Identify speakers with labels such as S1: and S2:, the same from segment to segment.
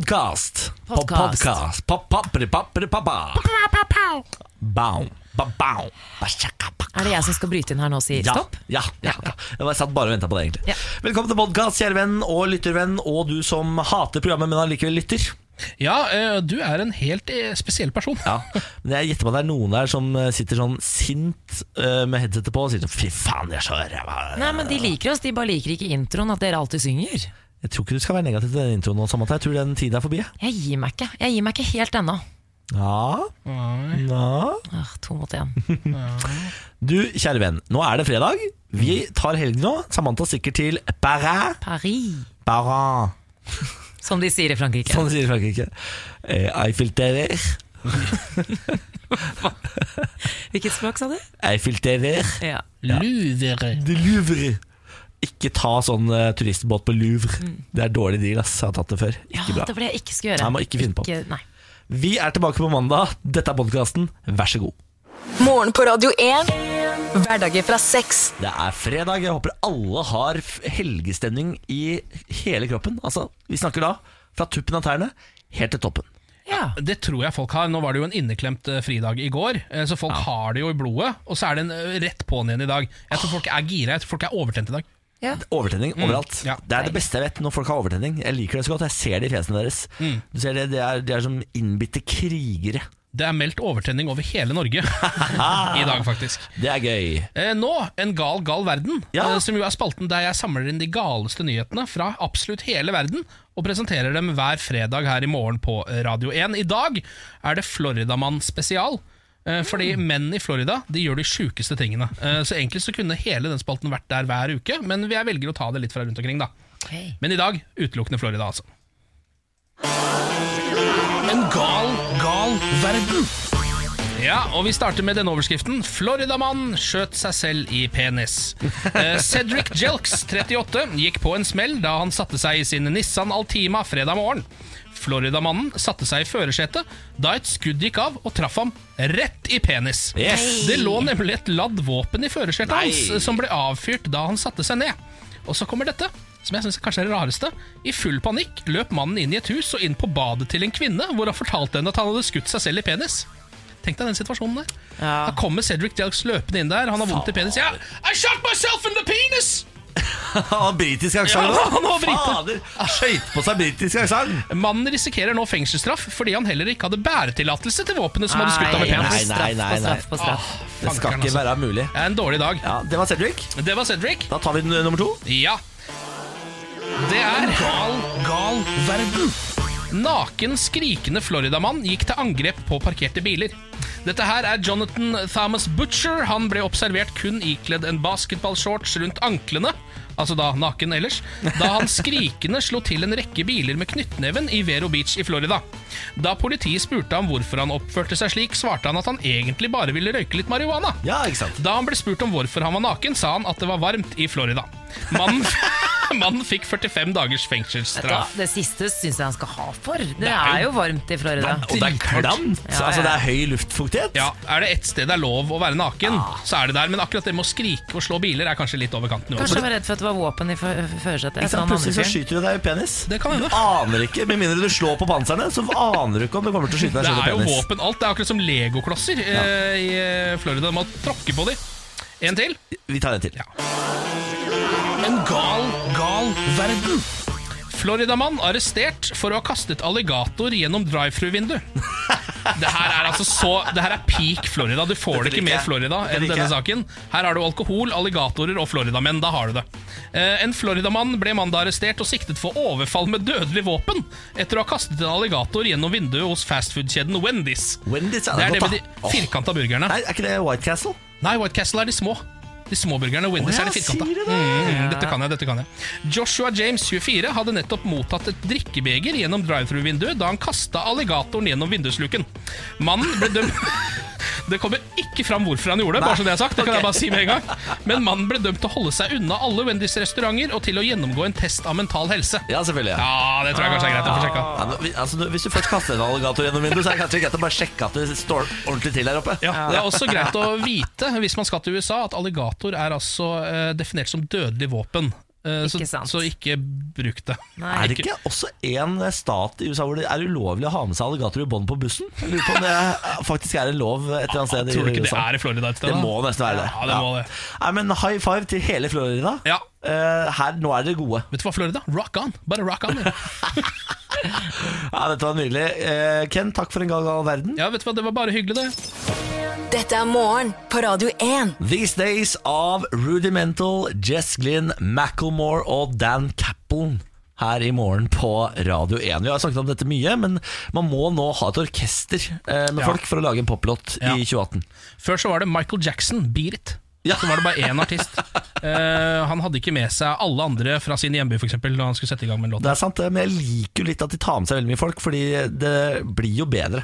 S1: Podcast.
S2: Podcast.
S1: På podcast. Pa- pappere, pappere, pappa. Bow. Ba- bow. Ba- shaka- ba-
S2: Er det jeg som skal bryte inn her nå og si
S1: Ja,
S2: stopp?
S1: ja, ja, ja. Jeg var- satt bare og venta på det, egentlig.
S2: Ja.
S1: Velkommen til podkast, kjære venn og lyttervenn, og du som hater programmet, men allikevel lytter.
S3: Ja, eh, du er en helt eh, spesiell person.
S1: Ja, men jeg gjetter på at det er noen der som eh, sitter sånn sint eh, med headsetet på og sier sånn Fy faen, jeg er så ræva.
S2: Nei, men De liker oss, de bare liker ikke introen, at dere alltid synger.
S1: Jeg tror ikke du skal være negativ til den introen nå, Samantha. Jeg tror den tiden er forbi. jeg.
S2: Jeg gir meg ikke Jeg gir meg ikke helt ennå.
S1: Ja. ja.
S2: Ah, to mot én.
S1: Du, kjære venn, nå er det fredag. Vi
S2: Mm.
S1: tar helg nå. Samantha stikker til Paris.
S2: Paris,
S1: Paris,
S2: som de sier i Frankrike.
S1: sånn sier Frankrike. Eh, Eiffelterer.
S2: Hvilket språk sa du?
S1: Eiffelterer.
S2: Ja.
S3: Luvere.
S1: De Louvre. Ikke ta sånn eh, turistbåt på Louvre. Det er dårlig deal, ass. Jeg har tatt det før.
S2: Mm. ja,
S1: Ikke bra.
S2: det var det jeg ikke skulle gjøre.
S1: Nei, må ikke finne på.
S2: nei.
S1: Vi er tilbake på mandag. Dette er podkasten. Vær så god.
S4: Morgen på Radio 1. Hverdager fra seks.
S1: Det er fredag. Jeg håper alle har f- helgestemning i hele kroppen. Altså, vi snakker da fra tuppen av tærne helt til toppen.
S2: Ja.
S3: Det tror jeg folk har. Nå var det jo en inneklemt eh, fridag i går, eh, så folk har det jo i blodet. Og så er det en eh, rett på'n igjen i dag. Jeg tror folk er gira. Jeg tror folk er overtent i dag.
S1: Overtenning overalt.
S3: Mm. ja.
S1: det er det beste jeg vet når folk har overtenning. Jeg liker det så godt. Jeg ser det i fjesene deres.
S3: Mm.
S1: Du ser det, det er, de er som innbitte krigere.
S3: Det er meldt overtenning over hele Norge i dag, faktisk.
S1: Det er gøy.
S3: Eh, nå, En gal, gal verden,
S1: Ja.
S3: eh, som jo er spalten der jeg samler inn de galeste nyhetene fra absolutt hele verden, og presenterer dem hver fredag her i morgen på eh, Radio 1. I dag er det Floridamann spesial. eh, Fordi menn i Florida de gjør de sjukeste tingene. Eh, Så egentlig så kunne hele den spalten vært der hver uke, men jeg velger å ta det litt fra rundt omkring, da.
S2: Ok.
S3: Men i dag utelukkende Florida, altså. En gal, gal verden. Ja, og Vi starter med denne overskriften. Floridamann skjøt seg selv i penis. Eh, Cedric Jelks, 38, gikk på en smell da han satte seg i sin Nissan Altima fredag morgen. Floridamannen satte seg i førersetet da et skudd gikk av og traff ham rett i penis.
S1: Yes.
S3: Det lå nemlig et ladd våpen i førersetet hans som ble avfyrt da han satte seg ned. Og så kommer dette, som jeg syns kanskje er det rareste. I full panikk løp mannen inn i et hus og inn på badet til en kvinne, hvor han fortalte henne at han hadde skutt seg selv i penis. Tenk deg den situasjonen der. Da kommer Cedric Jelks løpende inn der, han har vondt i penis. Ja, I shot myself in the penis!
S1: Han britisk aksent
S3: Ja,
S1: nå!
S3: han har brite.
S1: Fader! Skøyt på seg britisk aksent!
S3: Mannen risikerer nå fengselsstraff fordi han heller ikke hadde bæretillatelse til våpenet som hadde skutt ham i
S1: Nei,
S3: penis.
S1: nei, nei, nei.
S2: Straff på straff på straff.
S1: Det skal
S3: Fankeren,
S1: ikke
S3: altså.
S1: være mulig.
S3: Det er en dårlig dag.
S1: Ja, Det var Cedric.
S3: Det var Cedric.
S1: Da tar vi den, eh, nummer to.
S3: Ja. Det er gal, gal verden. Naken, skrikende Floridamann gikk til angrep på parkerte biler. Dette her er Jonathan Thomas Butcher. Han ble observert kun ikledd en basketballshorts rundt anklene, altså da naken ellers, da han skrikende slo til en rekke biler med knyttneven i Vero Beach i Florida. Da politiet spurte ham hvorfor han oppførte seg slik, svarte han at han egentlig bare ville røyke litt marihuana.
S1: Ja, ikke sant?
S3: Da han ble spurt om hvorfor han var naken, sa han at det var varmt i Florida. Mannen, mannen fikk 45 dagers
S2: Vet du hva,
S3: fengselsstraff.
S2: Det siste syns jeg han skal ha for. Det er jo varmt i Florida.
S1: Og det er klamt!
S2: Ja, ja.
S1: Altså, det er høy luftfuktighet.
S3: Ja, Er det ett sted det er lov å være naken, så er det der. Men akkurat det med å skrike og slå biler er kanskje litt over kanten.
S2: Kanskje
S3: uansett.
S2: jeg var redd for at det var våpen i fø-
S1: Ikke
S2: førersetet. etter
S1: sant?
S2: han andre
S1: Plutselig så
S2: fyren.
S1: skyter du deg i penis.
S3: Det kan hende.
S1: Du aner ikke, Med mindre du slår på panserne, så aner du ikke om du kommer til å skyte deg
S3: Det
S1: selv i
S3: er jo
S1: penis.
S3: våpen alt. Det er akkurat som legoklosser eh, i eh, Florida. Man tråkker på dem. En til.
S1: Vi tar en til.
S3: En gal, gal verden. Floridamann arrestert for å ha kastet alligator gjennom drive-through-vindu. Det her er altså så Det her er peak Florida. Du får det
S1: Dette
S3: ikke
S1: liker
S3: mer
S1: jeg.
S3: Florida
S1: Dette
S3: enn
S1: liker
S3: denne
S1: jeg.
S3: saken. Her har du alkohol, alligatorer og floridamenn. Da har du det. Eh, En floridamann ble mandag arrestert og siktet for overfall med dødelig våpen etter å ha kastet en alligator gjennom vinduet hos fastfood-kjeden Wendy's.
S1: Wendy's
S3: Det er det
S1: godt,
S3: med
S1: da.
S3: de
S1: Åh.
S3: firkanta burgerne.
S1: Nei, er ikke det White Castle?
S3: Nei, White Castle er de små. De små burgerne. Wendy's
S1: Å ja,
S3: er de firkanta.
S1: sier du det?
S3: Mm, dette kan jeg, dette kan jeg. Joshua James, 24, hadde nettopp mottatt et drikkebeger gjennom drive-through-vinduet da han kasta alligatoren gjennom vindusluken. Mannen ble dømt Det kommer ikke fram hvorfor han gjorde det, bare så det er sagt. Det kan jeg bare si med en gang. Men mannen ble dømt til å holde seg unna alle Wendys restauranter og til å gjennomgå en test av mental helse.
S1: Ja, selvfølgelig. Ja.
S3: Ja, det tror jeg kanskje er greit å få sjekka.
S1: men vi- altså, du- hvis du først kaster en alligator gjennom vinduet, så er det kanskje greit å bare sjekke at det står ordentlig til der oppe.
S3: Ja, Det er også greit å vite hvis man skal til USA at alligator er altså eh, definert som dødelig våpen. Eh, Eh,
S2: Ikke
S3: så,
S2: sant.
S3: så ikke bruk det.
S2: Nei.
S1: Er det ikke også en eh, stat i USA hvor det er ulovlig å ha med seg alligator i bånd på bussen? Jeg lurer på om det faktisk er en lov et eller annet sted
S3: Tror du
S1: i
S3: ikke det
S1: USA.
S3: er i Florida et sted?
S1: Det
S3: da?
S1: må nesten være det.
S3: Ja, det må det.
S1: Nei, men High five til hele Florida.
S3: Ja.
S1: Eh, her, nå er dere gode.
S3: Vet du hva, Florida? Rock on! Bare rock on. Ja,
S1: Ja, dette var nydelig. Eh, Ken, takk for en gal, gal verden.
S3: ja vet du hva, Det var bare hyggelig, det.
S4: Dette er morgen på Radio 1.
S1: These Days av Rudimental, Jess Glynn, Macklemore og Dan Cappelen her i morgen på Radio 1. Vi har snakket om dette mye, men man må nå ha et orkester eh, med
S3: Ja.
S1: folk for å lage en poplåt
S3: Ja.
S1: i 2018.
S3: Før så var det Michael Jackson, Beat It.
S1: Ja.
S3: Så var det bare én artist. Eh, han hadde ikke med seg alle andre fra sin hjemby, f.eks., da han skulle sette i gang med en låt.
S1: Det er sant, det, men jeg liker jo litt at de tar med seg veldig mye folk, fordi det blir jo bedre.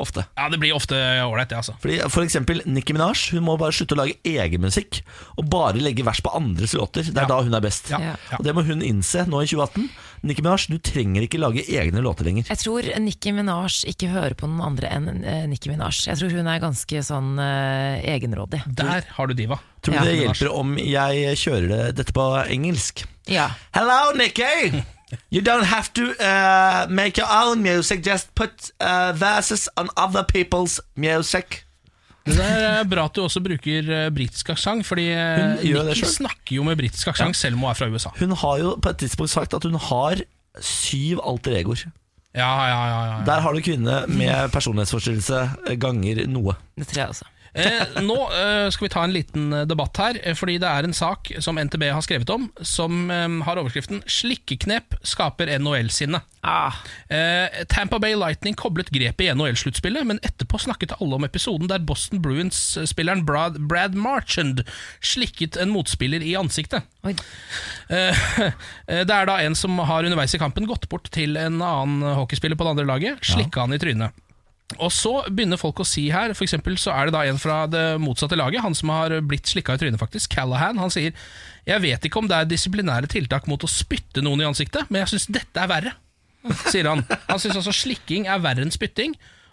S1: Ofte.
S3: Ja, det blir ofte ålreit, det, altså.
S1: Fordi For eksempel Nicki Minaj Hun må bare slutte å lage egen musikk og bare legge vers på andres låter. Det er
S3: Ja.
S1: da hun er best.
S3: Ja,
S2: Ja.
S3: ja.
S1: Og det må hun innse nå i 2018. Nicki Minaj, du trenger ikke lage egne låter lenger.
S2: Jeg tror Nikki Minaj ikke hører på noen andre enn eh, Nicki Minaj. Jeg tror hun er ganske sånn eh, egenrådig.
S3: Der har du diva.
S1: Tror du
S2: Ja.
S1: det hjelper om jeg kjører det- dette på engelsk?
S2: Ja.
S1: Hello, Nicki! You don't have to uh, make your own music, just put uh, verses on other people's music.
S3: Det der er bra at du også bruker eh, britisk aksent, fordi eh,
S1: Hun gjør det
S3: Nicki
S1: selv.
S3: snakker jo med britisk aksent, selv om hun er fra USA.
S1: Hun har jo på et tidspunkt sagt at hun har syv alter egoer.
S3: Ja, ja, ja, ja, ja.
S1: Der har du kvinne med personlighetsforstyrrelse ganger noe.
S2: Det tror jeg også.
S3: Eh, nå eh, skal vi ta en liten eh, debatt her, eh, fordi det er en sak som NTB har skrevet om, som eh, har overskriften 'Slikkeknep skaper NHL-sinne'.
S2: Ah,
S3: Eh, Tampa Bay Lightning koblet grepet i NHL-sluttspillet, men etterpå snakket alle om episoden der Boston Bruins-spilleren Brad, Brad Marchand slikket en motspiller i ansiktet.
S2: oi.
S3: Eh, Det er da en som har underveis i kampen gått bort til en annen hockeyspiller på det andre laget, slikka han i trynet. Og så begynner folk å si her, for eksempel så er det da en fra det motsatte laget, han som har blitt slikka i trynet faktisk, Callahan, han sier Jeg vet ikke om det er disiplinære tiltak mot å spytte noen i ansiktet, men jeg syns dette er verre, sier han. Han syns altså slikking er verre enn spytting.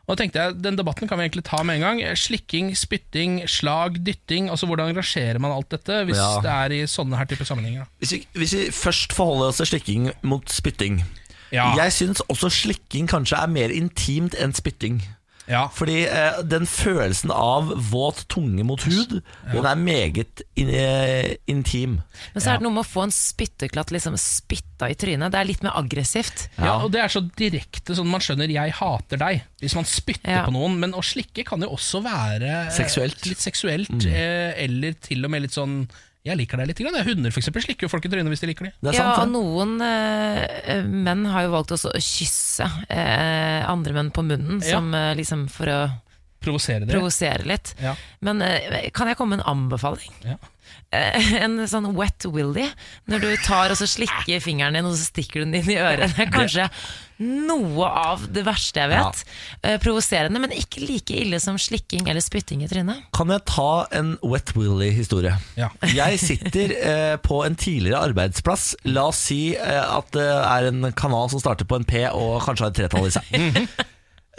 S3: Og da tenkte jeg, Den debatten kan vi egentlig ta med en gang. Slikking, spytting, slag, dytting. altså Hvordan rangerer man alt dette hvis
S1: Ja.
S3: det er i sånne her type sammenhenger? da?
S1: Hvis vi, hvis vi først forholder oss til slikking mot spytting
S3: Ja.
S1: Jeg syns også slikking kanskje er mer intimt enn spytting.
S3: Ja.
S1: Fordi eh, den følelsen av våt tunge mot hud, den er meget in, eh, intim.
S2: Men så er det noe med å få en spytteklatt liksom spytta i trynet. Det er litt mer aggressivt.
S3: Ja, og det er så direkte sånn man skjønner 'jeg hater deg' hvis man spytter
S2: Ja.
S3: på noen. Men å slikke kan jo også være eh,
S1: Seksuelt.
S3: litt seksuelt, eh, eller til og med litt sånn 'jeg liker deg litt'. Grann. Hunder for eksempel slikker jo folk i trynet hvis de liker de.
S1: Det er
S2: Ja, og
S1: sant, det.
S2: noen eh, menn har jo valgt også å kysse eh, andre menn på munnen,
S3: Ja.
S2: som, eh, liksom for å
S3: Provosere dere.
S2: provosere litt.
S3: Ja.
S2: Men eh, kan jeg komme med en anbefaling?
S3: Ja.
S2: Eh, en sånn wet willy, når du tar og så slikker fingeren din, og så stikker du den inn i øret. Det er kanskje noe av det verste jeg vet. Eh, provoserende, men ikke like ille som slikking eller spytting i trynet.
S1: Kan jeg ta en Wet Willy-historie?
S3: Ja.
S1: Jeg sitter eh, på en tidligere arbeidsplass. La oss si eh, at det er en kanal som starter på en P og kanskje har et tretall i seg.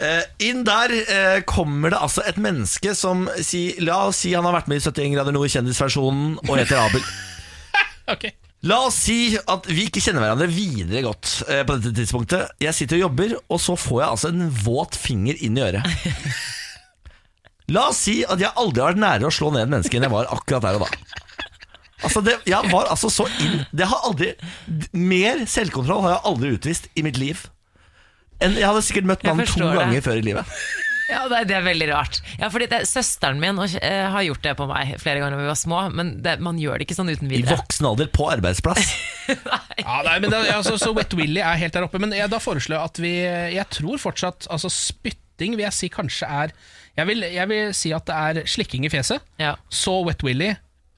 S1: Eh, inn der eh, kommer det altså et menneske som si, La oss si han har vært med i 71 grader nord, kjendisversjonen, og heter Abel.
S3: Ok.
S1: La oss si at vi ikke kjenner hverandre videre godt eh, på dette tidspunktet. Jeg sitter og jobber, og så får jeg altså en våt finger inn i øret. La oss si at jeg aldri har vært nærere å slå ned et menneske enn jeg var akkurat der og da. Altså det, jeg var altså så inn det har aldri, d- Mer selvkontroll har jeg aldri utvist i mitt liv. enn- jeg hadde sikkert møtt
S2: Jeg
S1: mannen to
S2: forstår det.
S1: ganger før i livet.
S2: Ja, det, det er veldig rart. Ja, fordi det, Søsteren min og, eh, har gjort det på meg flere ganger når vi var små, men det, man gjør det ikke sånn uten
S1: I
S2: videre.
S1: voksen alder, på arbeidsplass.
S3: Ja, nei, men det, altså, så Wet Willy er helt der oppe. Men jeg, da foreslår jeg at vi Jeg tror fortsatt altså spytting vil jeg si kanskje er Jeg vil, jeg vil si at det er slikking i fjeset,
S2: Ja.
S3: så Wet Willy,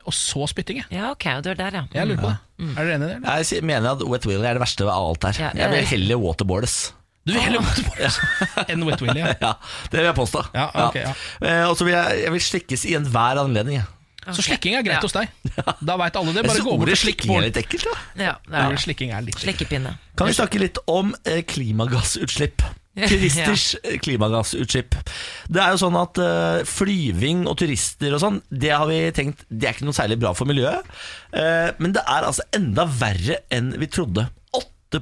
S3: og så spytting. jeg.
S2: ja, ok, du er der, ja.
S3: Jeg lurer på det. Er dere enig i det? eller?
S1: Jeg si- mener at Wet Willy er det verste av alt her.
S2: Ja,
S1: Jeg
S2: jeg-
S1: vil heller waterboardes.
S3: Du vil
S1: Ah.
S3: heller måtte på enn Wet Willy. Ja.
S1: Ja, det vil jeg påstå.
S3: Ja, ok, ja.
S1: Eh, Og så vil jeg, jeg vil slikkes i enhver anledning. jeg.
S3: Så slikking er greit
S2: Ja.
S3: hos deg. Da veit alle det.
S1: Jeg
S3: Bare
S1: synes
S3: gå bort
S1: ordet
S3: og slikk
S1: slikking er
S3: på
S1: litt ekkelt. Da.
S2: ja det
S3: Ja,
S2: er det.
S3: Slikking er litt
S2: Slikkepinne.
S1: Kan vi snakke litt om eh, klimagassutslipp? Turisters eh, klimagassutslipp. Det er jo sånn at eh, flyving og turister og sånn, det har vi tenkt Det er ikke noe særlig bra for miljøet. Eh, men det er altså enda verre enn vi trodde. 8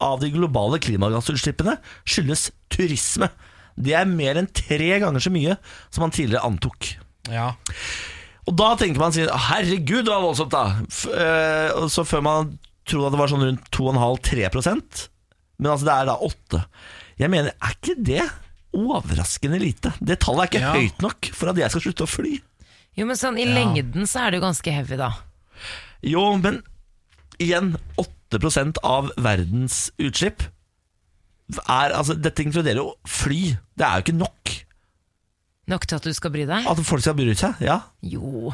S1: av de globale klimagassutslippene skyldes turisme. Det er mer enn tre ganger så mye som man tidligere antok.
S3: Ja.
S1: Og da tenker man sier, herregud, det var voldsomt da F eh, og Så før man trodde at det var sånn rundt 2,5-3 Men altså det er da 8 Jeg mener, er ikke det overraskende lite? Det tallet er ikke
S3: Ja.
S1: høyt nok for at jeg skal slutte å fly
S2: Jo, men sånn i lengden så er det jo ganske heavy, da.
S1: Jo, men igjen 8 av verdens utslipp er, altså, Dette inkluderer jo fly Det er jo ikke nok
S2: Nok til at du skal bry deg?
S1: At folk skal bry seg ja.
S2: Jo.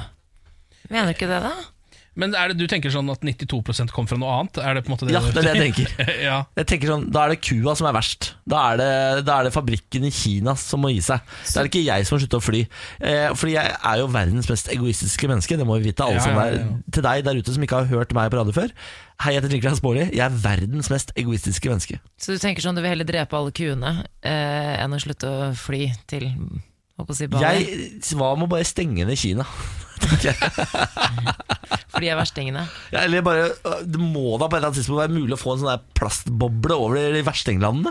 S2: Mener du ikke det, da?
S3: Men er det, du tenker sånn at 92 kom fra noe annet? Er det på en måte det
S1: ja, det er det jeg tenker
S3: tenker. ja.
S1: Jeg tenker sånn, Da er det kua som er verst. Da er det, da er det fabrikken i Kina som må gi seg. Da er det ikke jeg som må slutte å fly. Eh, fordi jeg er jo verdens mest egoistiske menneske. Det må vi vite, alle
S3: Ja,
S1: som
S3: ja,
S1: er
S3: ja, ja.
S1: Til deg der ute som ikke har hørt meg på radio før. Hei, jeg heter Niklas Baarli. Jeg er verdens mest egoistiske menneske.
S2: Så du tenker sånn du vil heller drepe alle kuene eh, enn å slutte å fly til holdt på å si Bali?
S1: Jeg Hva med å bare stenge ned Kina?
S2: For de er verstingene.
S1: Ja, Eller bare øh, Det må da på et eller annet tidspunkt være mulig å få en sånn der plastboble over de verstinglandene?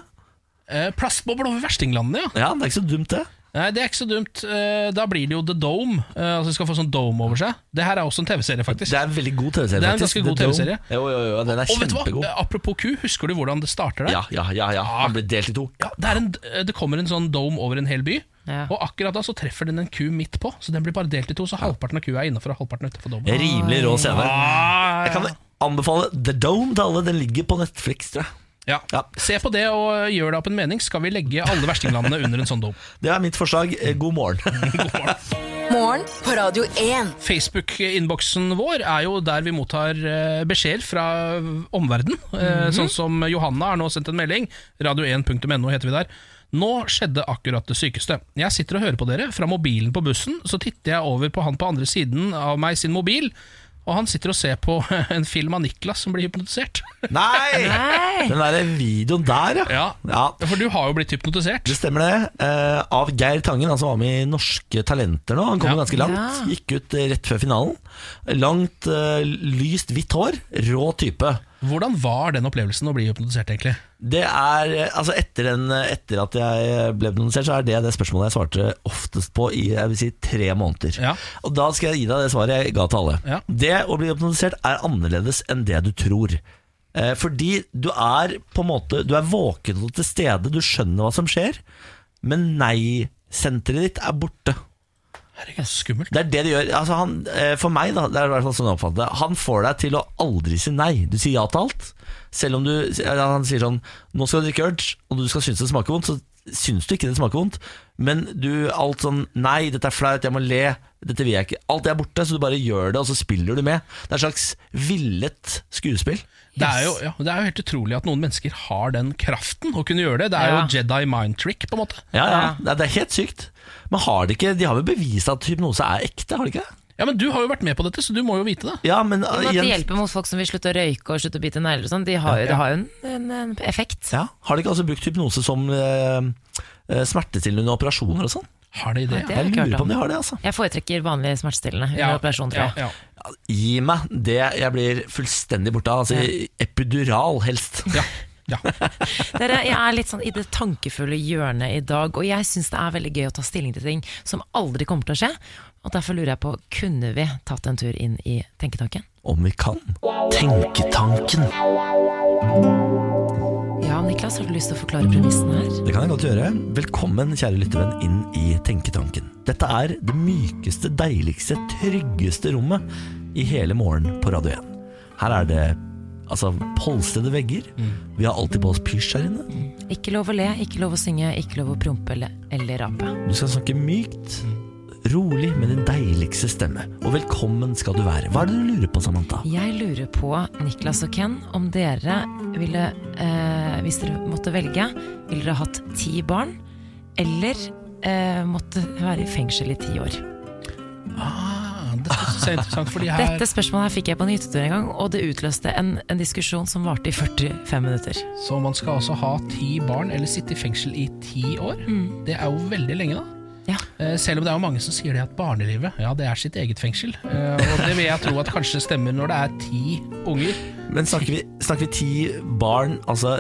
S3: Eh, Plastbobler over verstinglandene, ja.
S1: Ja, det er ikke så dumt, det.
S3: Nei, Det er ikke så dumt. Eh, Da blir det jo The Dome. Eh, Altså de skal få sånn dome over seg. Det her er også en TV-serie, faktisk.
S1: Det er en veldig god TV-serie,
S3: Det er en
S1: faktisk.
S3: ganske
S1: The
S3: god
S1: Dome.
S3: TV-serie.
S1: Jo, jo, jo, den er
S3: Og vet du hva?
S1: kjempegod.
S3: Eh, Apropos ku, husker du hvordan det starter der?
S1: Ja, ja, ja, ja. Han ble delt i to.
S3: Ja, det, er en, eh, det kommer en sånn dome over en hel by,
S2: Ja.
S3: og akkurat da så treffer den en ku midt på. Så den blir bare delt i to, så halvparten av kua er innenfor og halvparten er utenfor domen.
S1: Rimelig rå scene.
S3: Ah,
S1: Jeg kan anbefale The Dome til alle. Den ligger på Netflix, tror jeg.
S3: ja.
S1: Ja.
S3: Se på det og gjør det opp en mening. Skal vi legge alle verstinglandene under en sånn dome?
S1: Det er mitt forslag. Eh, God morgen.
S3: God morgen.
S4: Morgen på Radio 1.
S3: Facebook-innboksen vår er jo der vi mottar eh, beskjeder fra omverdenen. Eh,
S1: Mhm.
S3: Sånn som Johanna har nå sendt en melding. Radio1.no heter vi der. Nå skjedde akkurat det sykeste. Jeg sitter og hører på dere fra mobilen på bussen. Så titter jeg over på han på andre siden av meg sin mobil, og han sitter og ser på en film av Niklas som blir hypnotisert.
S1: Nei!
S2: Nei!
S1: Den derre videoen der, ja.
S3: Ja,
S1: ja.
S3: For du har jo blitt hypnotisert.
S1: Det stemmer det. Eh, av Geir Tangen, han som var med i Norske Talenter nå. Han kom
S3: Ja.
S1: ganske langt.
S2: Ja.
S1: Gikk ut eh, rett før finalen. Langt, eh, lyst hvitt hår. Rå type.
S3: Hvordan var den opplevelsen å bli hypnotisert, egentlig?
S1: Det er, altså etter, den, etter at jeg ble nominert, så er det det spørsmålet jeg svarte oftest på i jeg vil si, tre måneder.
S3: Ja.
S1: Og da skal jeg gi deg det svaret jeg ga til alle.
S3: Ja.
S1: Det å bli hypnotisert er annerledes enn det du tror. Eh, fordi du er på en måte Du er våken og til stede, du skjønner hva som skjer, men nei-senteret ditt er borte.
S3: Herregud, skummelt.
S1: Det er det det gjør. Altså han, eh, for meg, da, det er i hvert fall sånn jeg oppfatter det. Han får deg til å aldri si nei. Du sier ja til alt. Selv om du eller Han sier sånn Nå skal du drikke Urge, og du skal synes det smaker vondt. Så syns du ikke det smaker vondt, men du alt sånn Nei, dette er flaut, jeg må le. Dette vil jeg ikke. Alt er borte, så du bare gjør det, og så spiller du med. Det er et slags villet skuespill.
S3: Det er, jo, ja, det er jo helt utrolig at noen mennesker har den kraften å kunne gjøre det. Det er jo
S2: Ja.
S3: Jedi mind trick, på en måte.
S1: Ja, ja. Det er- Det er helt sykt. Men har de ikke De har vel bevist at hypnose er ekte, har de ikke det?
S3: Ja, men Du har jo vært med på dette, så du må jo vite det.
S1: Ja, men
S2: Men Sånn at det
S1: igjen-
S2: hjelper mot folk som vil slutte å røyke og slutte å bite negler og sånn, de har jo, det har jo en, en, en effekt.
S1: Ja, Har de ikke altså brukt hypnose som eh, eh, smertestillende operasjoner og sånn?
S3: Har de det?
S2: Det har
S1: Jeg
S2: jeg ikke
S1: lurer
S2: hørt
S1: på
S2: om.
S1: om de har det, altså.
S2: Jeg foretrekker vanlige smertestillende under operasjon, tror jeg.
S3: Ja,
S1: Gi meg det jeg blir fullstendig borte av. Altså epidural, helst.
S3: ja, ja, ja.
S2: Dere, jeg er litt sånn i det tankefulle hjørnet i dag, og jeg syns det er veldig gøy å ta stilling til ting som aldri kommer til å skje. Og derfor lurer jeg på, kunne vi tatt en tur inn i tenketanken?
S1: Om vi kan. Tenketanken.
S2: Ja, Niklas, har du lyst til å forklare premissen her?
S1: Det kan jeg godt gjøre. Velkommen, kjære lyttervenn, inn i Tenketanken. Dette er det mykeste, deiligste, tryggeste rommet i hele morgen på Radio 1. Her er det altså polstrede vegger.
S2: Mm.
S1: Vi har alltid på oss pysj her inne.
S2: Ikke lov å le, ikke lov å synge, ikke lov å prompe eller, eller rape.
S1: Du skal snakke mykt, rolig med din deiligste stemme. Og velkommen skal du være. Hva er det du lurer på, Samantha?
S2: Jeg lurer på, Niklas og Ken, om dere ville, eh, hvis dere måtte velge, ville dere hatt ti barn, eller eh, måtte være i fengsel i ti år?
S3: Ah, dette synes jeg er interessant, fordi her
S2: Dette spørsmålet her fikk jeg på en hyttetur en gang, og det utløste en, en diskusjon som varte i 45 minutter.
S3: Så man skal altså ha ti barn eller sitte i fengsel i ti år. Det er jo veldig lenge, da.
S2: Mm. Ja.
S3: Eh, Selv om det er jo mange som sier det at barnelivet ja, det er sitt eget fengsel. Eh, Og det vil jeg tro at kanskje stemmer når det er ti unger.
S1: Men snakker vi, snakker vi ti barn, altså,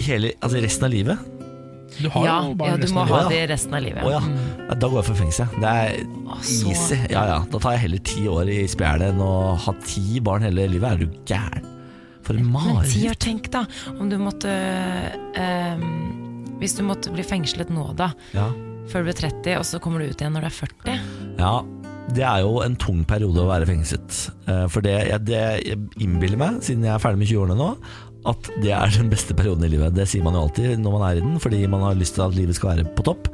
S1: hele, altså resten av livet?
S3: Du har
S2: ja,
S3: jo
S2: ja,
S3: barn
S2: du
S3: resten
S2: må
S3: av
S2: ha
S1: livet.
S2: det resten av livet. Mm.
S1: Å ja. ja. Da går jeg for fengsel. jeg. Det er
S2: så-
S1: easy. Ja, ja. Da tar jeg heller ti år i spjælet enn å ha ti barn hele livet. Er du gæren? For en
S2: Men ti
S1: mareritt.
S2: år, tenk da, om du måtte eh, Hvis du måtte bli fengslet nå, da,
S1: Ja.
S2: før du blir 30, og så kommer du ut igjen når du er 40.
S1: ja. Det er jo en tung periode å være fengslet. Eh, For det, jeg, det jeg innbiller meg, siden jeg er ferdig med 20-årene nå, at det er den beste perioden i livet. Det sier man jo alltid når man er i den, fordi man har lyst til at livet skal være på topp.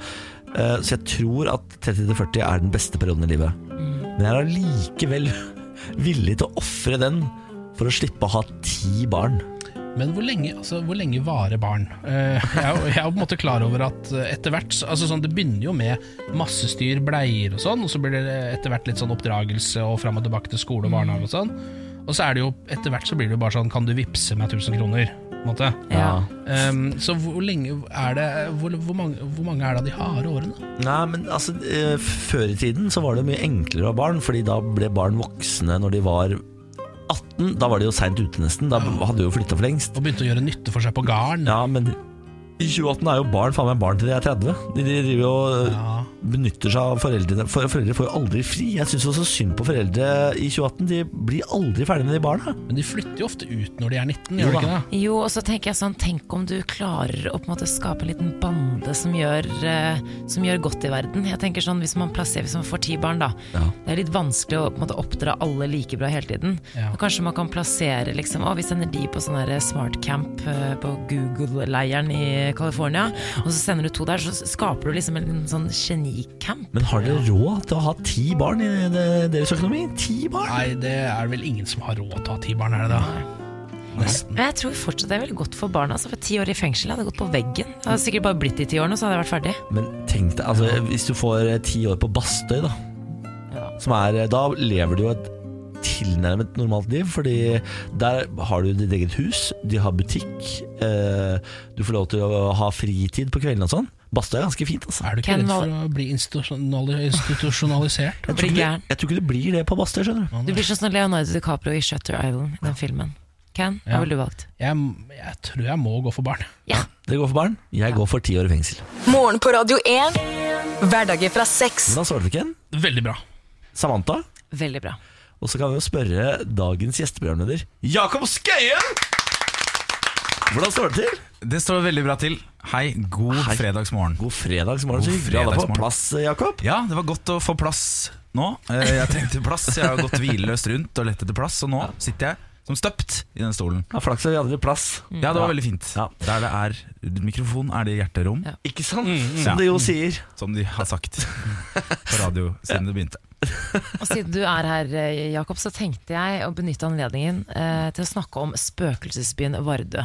S1: Eh, Så jeg tror at 30-40 er den beste perioden i livet. Men jeg er allikevel villig til å ofre den for å slippe å ha ti barn.
S3: Men hvor lenge, altså, hvor lenge varer barn? Eh, jeg, er jo- jeg er jo på en måte klar over at eh, etter hvert så- altså, sånn, Det begynner jo med masse styr, bleier og sånn, og så blir det etter hvert litt sånn oppdragelse og fram og tilbake til skole og barnehage og sånn. Og så er det jo etter hvert så blir det jo bare sånn Kan du vippse meg 1000 kroner? På en måte.
S1: Ja.
S3: Ehm, så hvor lenge er det hvor, hvor, mange, hvor mange er det av de harde årene?
S1: Nei, men altså, eh, Før i tiden så var det mye enklere å ha barn, fordi da ble barn voksne når de var 18. Da var de jo seint ute, nesten. Da hadde de jo flytta for lengst.
S3: Og begynte å gjøre nytte for seg på garden?
S1: Ja, men i 2018 er jo barn faen meg barn til de er 30. De, de driver jo og
S3: Ja.
S1: benytter seg av foreldrene. For, foreldre får jo aldri fri. Jeg syns også synd på foreldre i 2018. De blir aldri ferdig med de barna.
S3: Men de flytter jo ofte ut når de er 19,
S1: Jo
S3: gjør de
S1: da.
S3: ikke det?
S2: Jo, og så tenker jeg sånn, tenk om du klarer å på en måte skape en liten bande som gjør, eh, som gjør godt i verden. Jeg tenker sånn, Hvis man plasserer, hvis man får ti barn, da.
S1: Ja.
S2: Det er litt vanskelig å på en måte oppdra alle like bra hele tiden.
S3: Ja.
S2: Og Kanskje man kan plassere liksom, å, vi sender de på sånn her smartcamp eh, på Google-leiren i California, og så sender du to der, så skaper du liksom en liten sånn genicamp.
S1: Men har dere råd til å ha ti barn i det- deres økonomi? Ti barn?
S3: Nei, det er vel ingen som har råd til å ha ti barn, er det det? Nesten.
S2: Men jeg tror fortsatt det er veldig godt for barna. Altså, for ti år i fengsel hadde jeg gått på veggen. Jeg hadde sikkert bare blitt de ti årene, og så hadde jeg vært ferdig.
S1: Men tenk deg, altså, hvis du får eh, ti år på Bastøy, da, som er, eh, da lever du jo et tilnærmet normalt liv, fordi der har du ditt eget hus, de har butikk, eh, du får lov til å ha fritid på kveldene og sånn. Bastøy er ganske fint, altså.
S3: Er du ikke
S2: Ken
S3: redd for
S2: Wall-
S3: å bli institusjonali- institusjonalisert?
S1: Jeg
S2: Blir
S1: tror, ikke,
S2: gæren.
S1: du- jeg tror ikke du blir det på Bastøy, skjønner du.
S2: Du blir sånn som Leonardo DiCaprio i Shutter Island, den filmen. Ken, hva
S3: Ja.
S2: ville du valgt?
S3: Jeg, jeg tror jeg må gå for barn.
S2: Ja.
S1: Dere går for barn, jeg går for ti år i fengsel.
S4: Morgen på Radio 1. Hverdager fra seks.
S1: Hvordan svarte du ikke en?
S3: Veldig bra.
S1: Samantha?
S2: Veldig bra.
S1: Og så kan vi jo spørre dagens gjesteprogramleder, Jakob Skøyen! Hvordan står det til?
S5: Det står veldig bra til. Hei, god
S1: Hei.
S5: fredagsmorgen.
S1: God fredagsmorgen, så
S5: God
S1: hyggelig å ha deg på
S5: fredagsmorgen.
S1: plass, Jakob.
S5: Ja, det var godt å få plass nå. Eh, Jeg trengte plass. Jeg har gått hvileløst rundt og lett etter plass, og nå sitter jeg som støpt i den stolen.
S1: Ja, Flaks at vi hadde litt plass.
S5: Ja, det var veldig fint.
S1: Ja.
S5: Der det er mikrofon, er det hjerterom,
S2: Ja.
S1: Ikke sant?
S5: Mm, Ja.
S1: Som de jo sier.
S5: som de har sagt på radio siden det begynte.
S2: Og siden du er her, eh, Jakob, så tenkte jeg å benytte anledningen eh, til å snakke om spøkelsesbyen Vardø.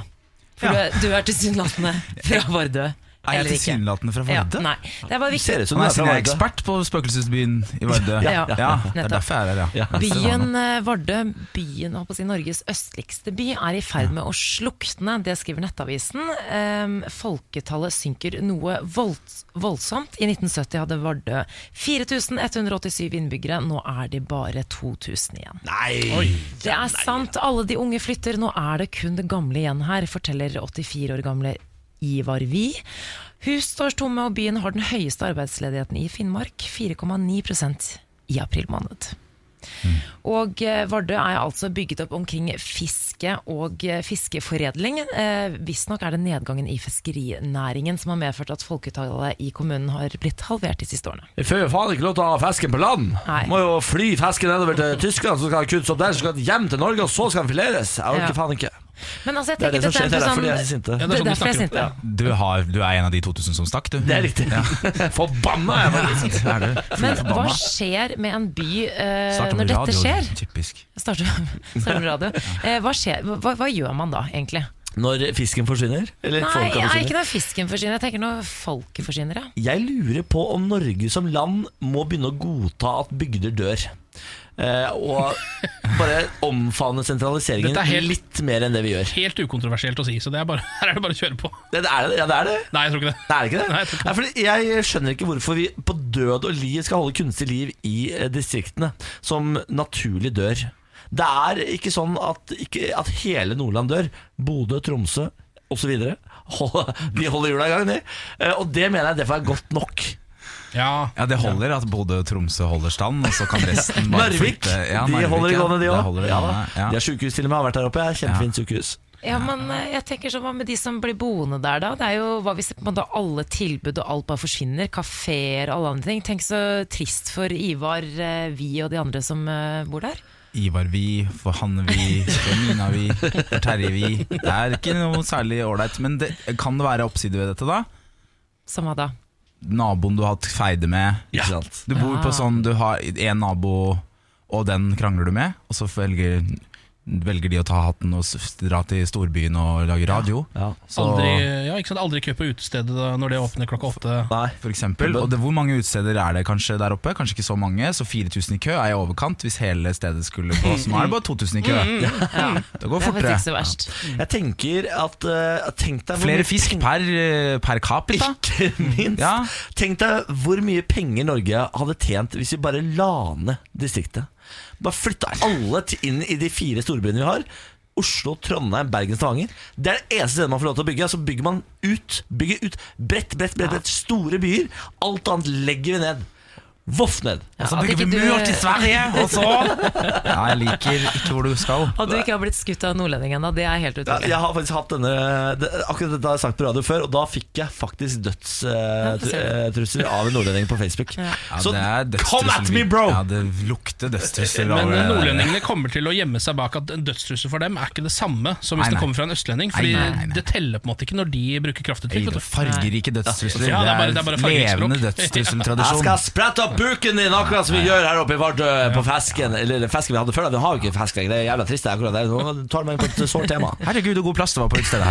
S2: For
S5: Ja.
S2: du, du er tilsynelatende fra Vardø.
S5: Er
S2: eller
S5: jeg
S2: ikke?
S5: tilsynelatende fra
S2: Ja,
S5: Vardø?
S2: nei, det var
S1: Du ser
S2: viktig.
S1: ut som
S5: Så
S1: du
S5: nei,
S1: er
S5: siden
S1: fra
S5: jeg er
S1: Vardø.
S5: ekspert på spøkelsesbyen i Vardø.
S2: Ja, ja,
S5: det er
S2: nettopp.
S5: derfor jeg er her, ja.
S2: Byen eh, Vardø, byen holdt på å si Norges østligste by, er i ferd med å slukne. Det skriver Nettavisen. Ehm, folketallet synker noe volds voldsomt. I 1970 hadde Vardø 4187 innbyggere, nå er de bare 2000 igjen.
S1: Nei!
S2: Det er sant. Alle de unge flytter. Nå er det kun det gamle igjen her, forteller 84 år gamle Ivar Vi. Hus står tomme, og byen har den høyeste arbeidsledigheten i Finnmark. 4,9 i april måned.
S1: Mm.
S2: Og eh, Vardø er altså bygget opp omkring fiske og eh, fiskeforedling. Eh, Visstnok er det nedgangen i fiskerinæringen som har medført at folketallet i kommunen har blitt halvert de siste årene.
S1: Vi får jo faen ikke lov til å ha fesken på land.
S2: Nei.
S1: Må jo fly fesken nedover til Tyskland, så skal den kuttes opp der, så skal den hjem til Norge, og så skal den fileres. Jeg orker
S2: Ja.
S1: faen ikke.
S2: Men altså, jeg
S1: Det er
S2: tenker
S1: det som skjer.
S2: dette
S1: Det er derfor de
S2: er
S1: er så
S2: sånn-
S1: sinte.
S2: Det
S3: Ja, det er
S2: er derfor jeg er
S3: sånn vi snakker om-
S2: sinte.
S3: ja.
S5: Du, har, du er en av de 2000 som stakk, du.
S1: Det er riktig. Forbanna er jeg faktisk.
S5: Det er du.
S2: Men hva
S5: Forbanna.
S2: skjer med en by eh,
S5: Starter med
S2: når dette
S5: radio.
S2: skjer?
S5: Typisk.
S2: Starter, starter med radio. Eh, hva, skjer, hva, hva gjør man da, egentlig?
S1: Når fisken forsvinner? Eller
S2: Nei,
S1: folka
S2: jeg,
S1: forsvinner?
S2: ikke når fisken forsvinner. Jeg tenker når folket forsvinner, ja.
S1: Jeg lurer på om Norge som land må begynne å godta at bygder dør. eh, og bare omfavne sentraliseringen
S3: Dette er helt-
S1: litt mer enn det vi gjør.
S3: Helt ukontroversielt å si, så det er bare, her er det bare å kjøre på.
S1: Det, det er det. Ja, det er det.
S3: Nei, jeg tror ikke det.
S1: Det er ikke det?
S3: Nei, jeg tror ikke det.
S1: Nei, fordi jeg skjønner ikke hvorfor vi på død og liv skal holde kunstig liv i eh, distriktene, som naturlig dør. Det er ikke sånn at, ikke, at hele Nordland dør. Bodø, Tromsø osv. De holder hjula i gang, de. Eh, Og det mener jeg derfor er godt nok.
S3: Ja,
S5: Ja, Det holder at Bodø og Tromså holder stand, og så kan resten bare
S1: Narvik,
S5: flytte. Ja,
S1: de
S5: Narvik,
S1: holder det
S5: ja.
S1: gående, de
S5: Det
S1: òg.
S5: holder det
S1: Ja,
S5: gående,
S1: da. de har sjukehus til og med, har vært der oppe. Ja. Kjempefint sykehus.
S2: Ja, men eh, jeg tenker sånn, Hva med de som blir boende der, da? Det er jo, Hva hvis på en måte alle tilbud og alt bare forsvinner? Kafeer og alle andre ting. Tenk så trist for Ivar, eh, vi og de andre som eh, bor der.
S5: Ivar Vi, for Hanne Vi, for Nina Vi, for Terje Vi. Det er ikke noe særlig ålreit. Men det, kan det være oppsider ved dette, da?
S2: Som hva da?
S5: Naboen du har hatt feide med.
S1: Ikke sant?
S5: Du bor
S2: Ja.
S5: på sånn, du har én nabo, og den krangler du med. Og så velger, velger de å ta hatten og s- dra til storbyen og lage radio.
S1: Ja.
S5: Så,
S3: aldri, ja, ikke sant? aldri kø på utestedet da, når det åpner klokka åtte.
S1: Nei.
S5: For eksempel, og det, Hvor mange utesteder er det kanskje der oppe? Kanskje ikke så mange, så 4000 i kø er i overkant hvis hele stedet skulle på. Så nå er det bare 2000 i kø.
S2: Ja,
S5: Det
S2: Det er
S5: går
S2: faktisk
S5: fortere.
S2: ikke så verst.
S1: Jeg tenker at eh, Tenk deg hvor mye
S5: Flere fisk per, eh, per capita.
S1: Ikke minst.
S5: Ja.
S1: Tenk deg hvor mye penger Norge hadde tjent hvis vi bare la ned distriktet. Bare flytta alle til- inn i de fire storbyene vi har. Oslo, Trondheim, Bergen, Stavanger. Det er det eneste stedet man får lov til å bygge. Så bygger man ut. Bygger ut bredt, bredt, bredt, bredt. Store byer. Alt annet legger vi ned. Voff ned.
S5: Og så
S2: at
S5: bygger vi
S2: ikke du-
S5: mur til Sverige, og så Ja, jeg liker ikke hvor du skal.
S2: At du ikke har blitt skutt av nordlendingen ennå, det er helt
S1: Ja,
S2: utrolig.
S1: jeg har faktisk hatt denne det, Akkurat dette har jeg sagt på radio før, og da fikk jeg faktisk eh,
S2: Ja, det ser du.
S1: dødstrusler av en nordlending på Facebook.
S5: Ja,
S1: Så
S5: det er dødstrussel-
S1: come at me, bro!
S5: Ja, det lukter eh, dødstrussel.
S3: Men
S5: over det der.
S3: nordlendingene kommer til å gjemme seg bak at en dødstrussel for dem er ikke det samme som hvis
S5: Nei, nei.
S3: det kommer fra en østlending. Fordi
S5: Nei, nei, nei, nei.
S3: det teller på en måte ikke når de bruker
S5: Jeg
S3: kraftuttrykk.
S5: liker
S3: vet du.
S5: det. Fargerike dødstrusler.
S3: Ja, det er bare- det er bare fargerikt
S5: levende
S3: språk.
S1: Jeg
S5: dødstrusseltradisjon.
S1: skal sprette opp buken din, akkurat som vi gjør her oppe i Vardø på fesken. Eller det fesken vi hadde før, da. vi har jo ikke fesk lenger. Det er jævla trist. det er akkurat det. Nå tar du meg inn på et sårt tema.
S5: Herregud, så god plass det var på utestedet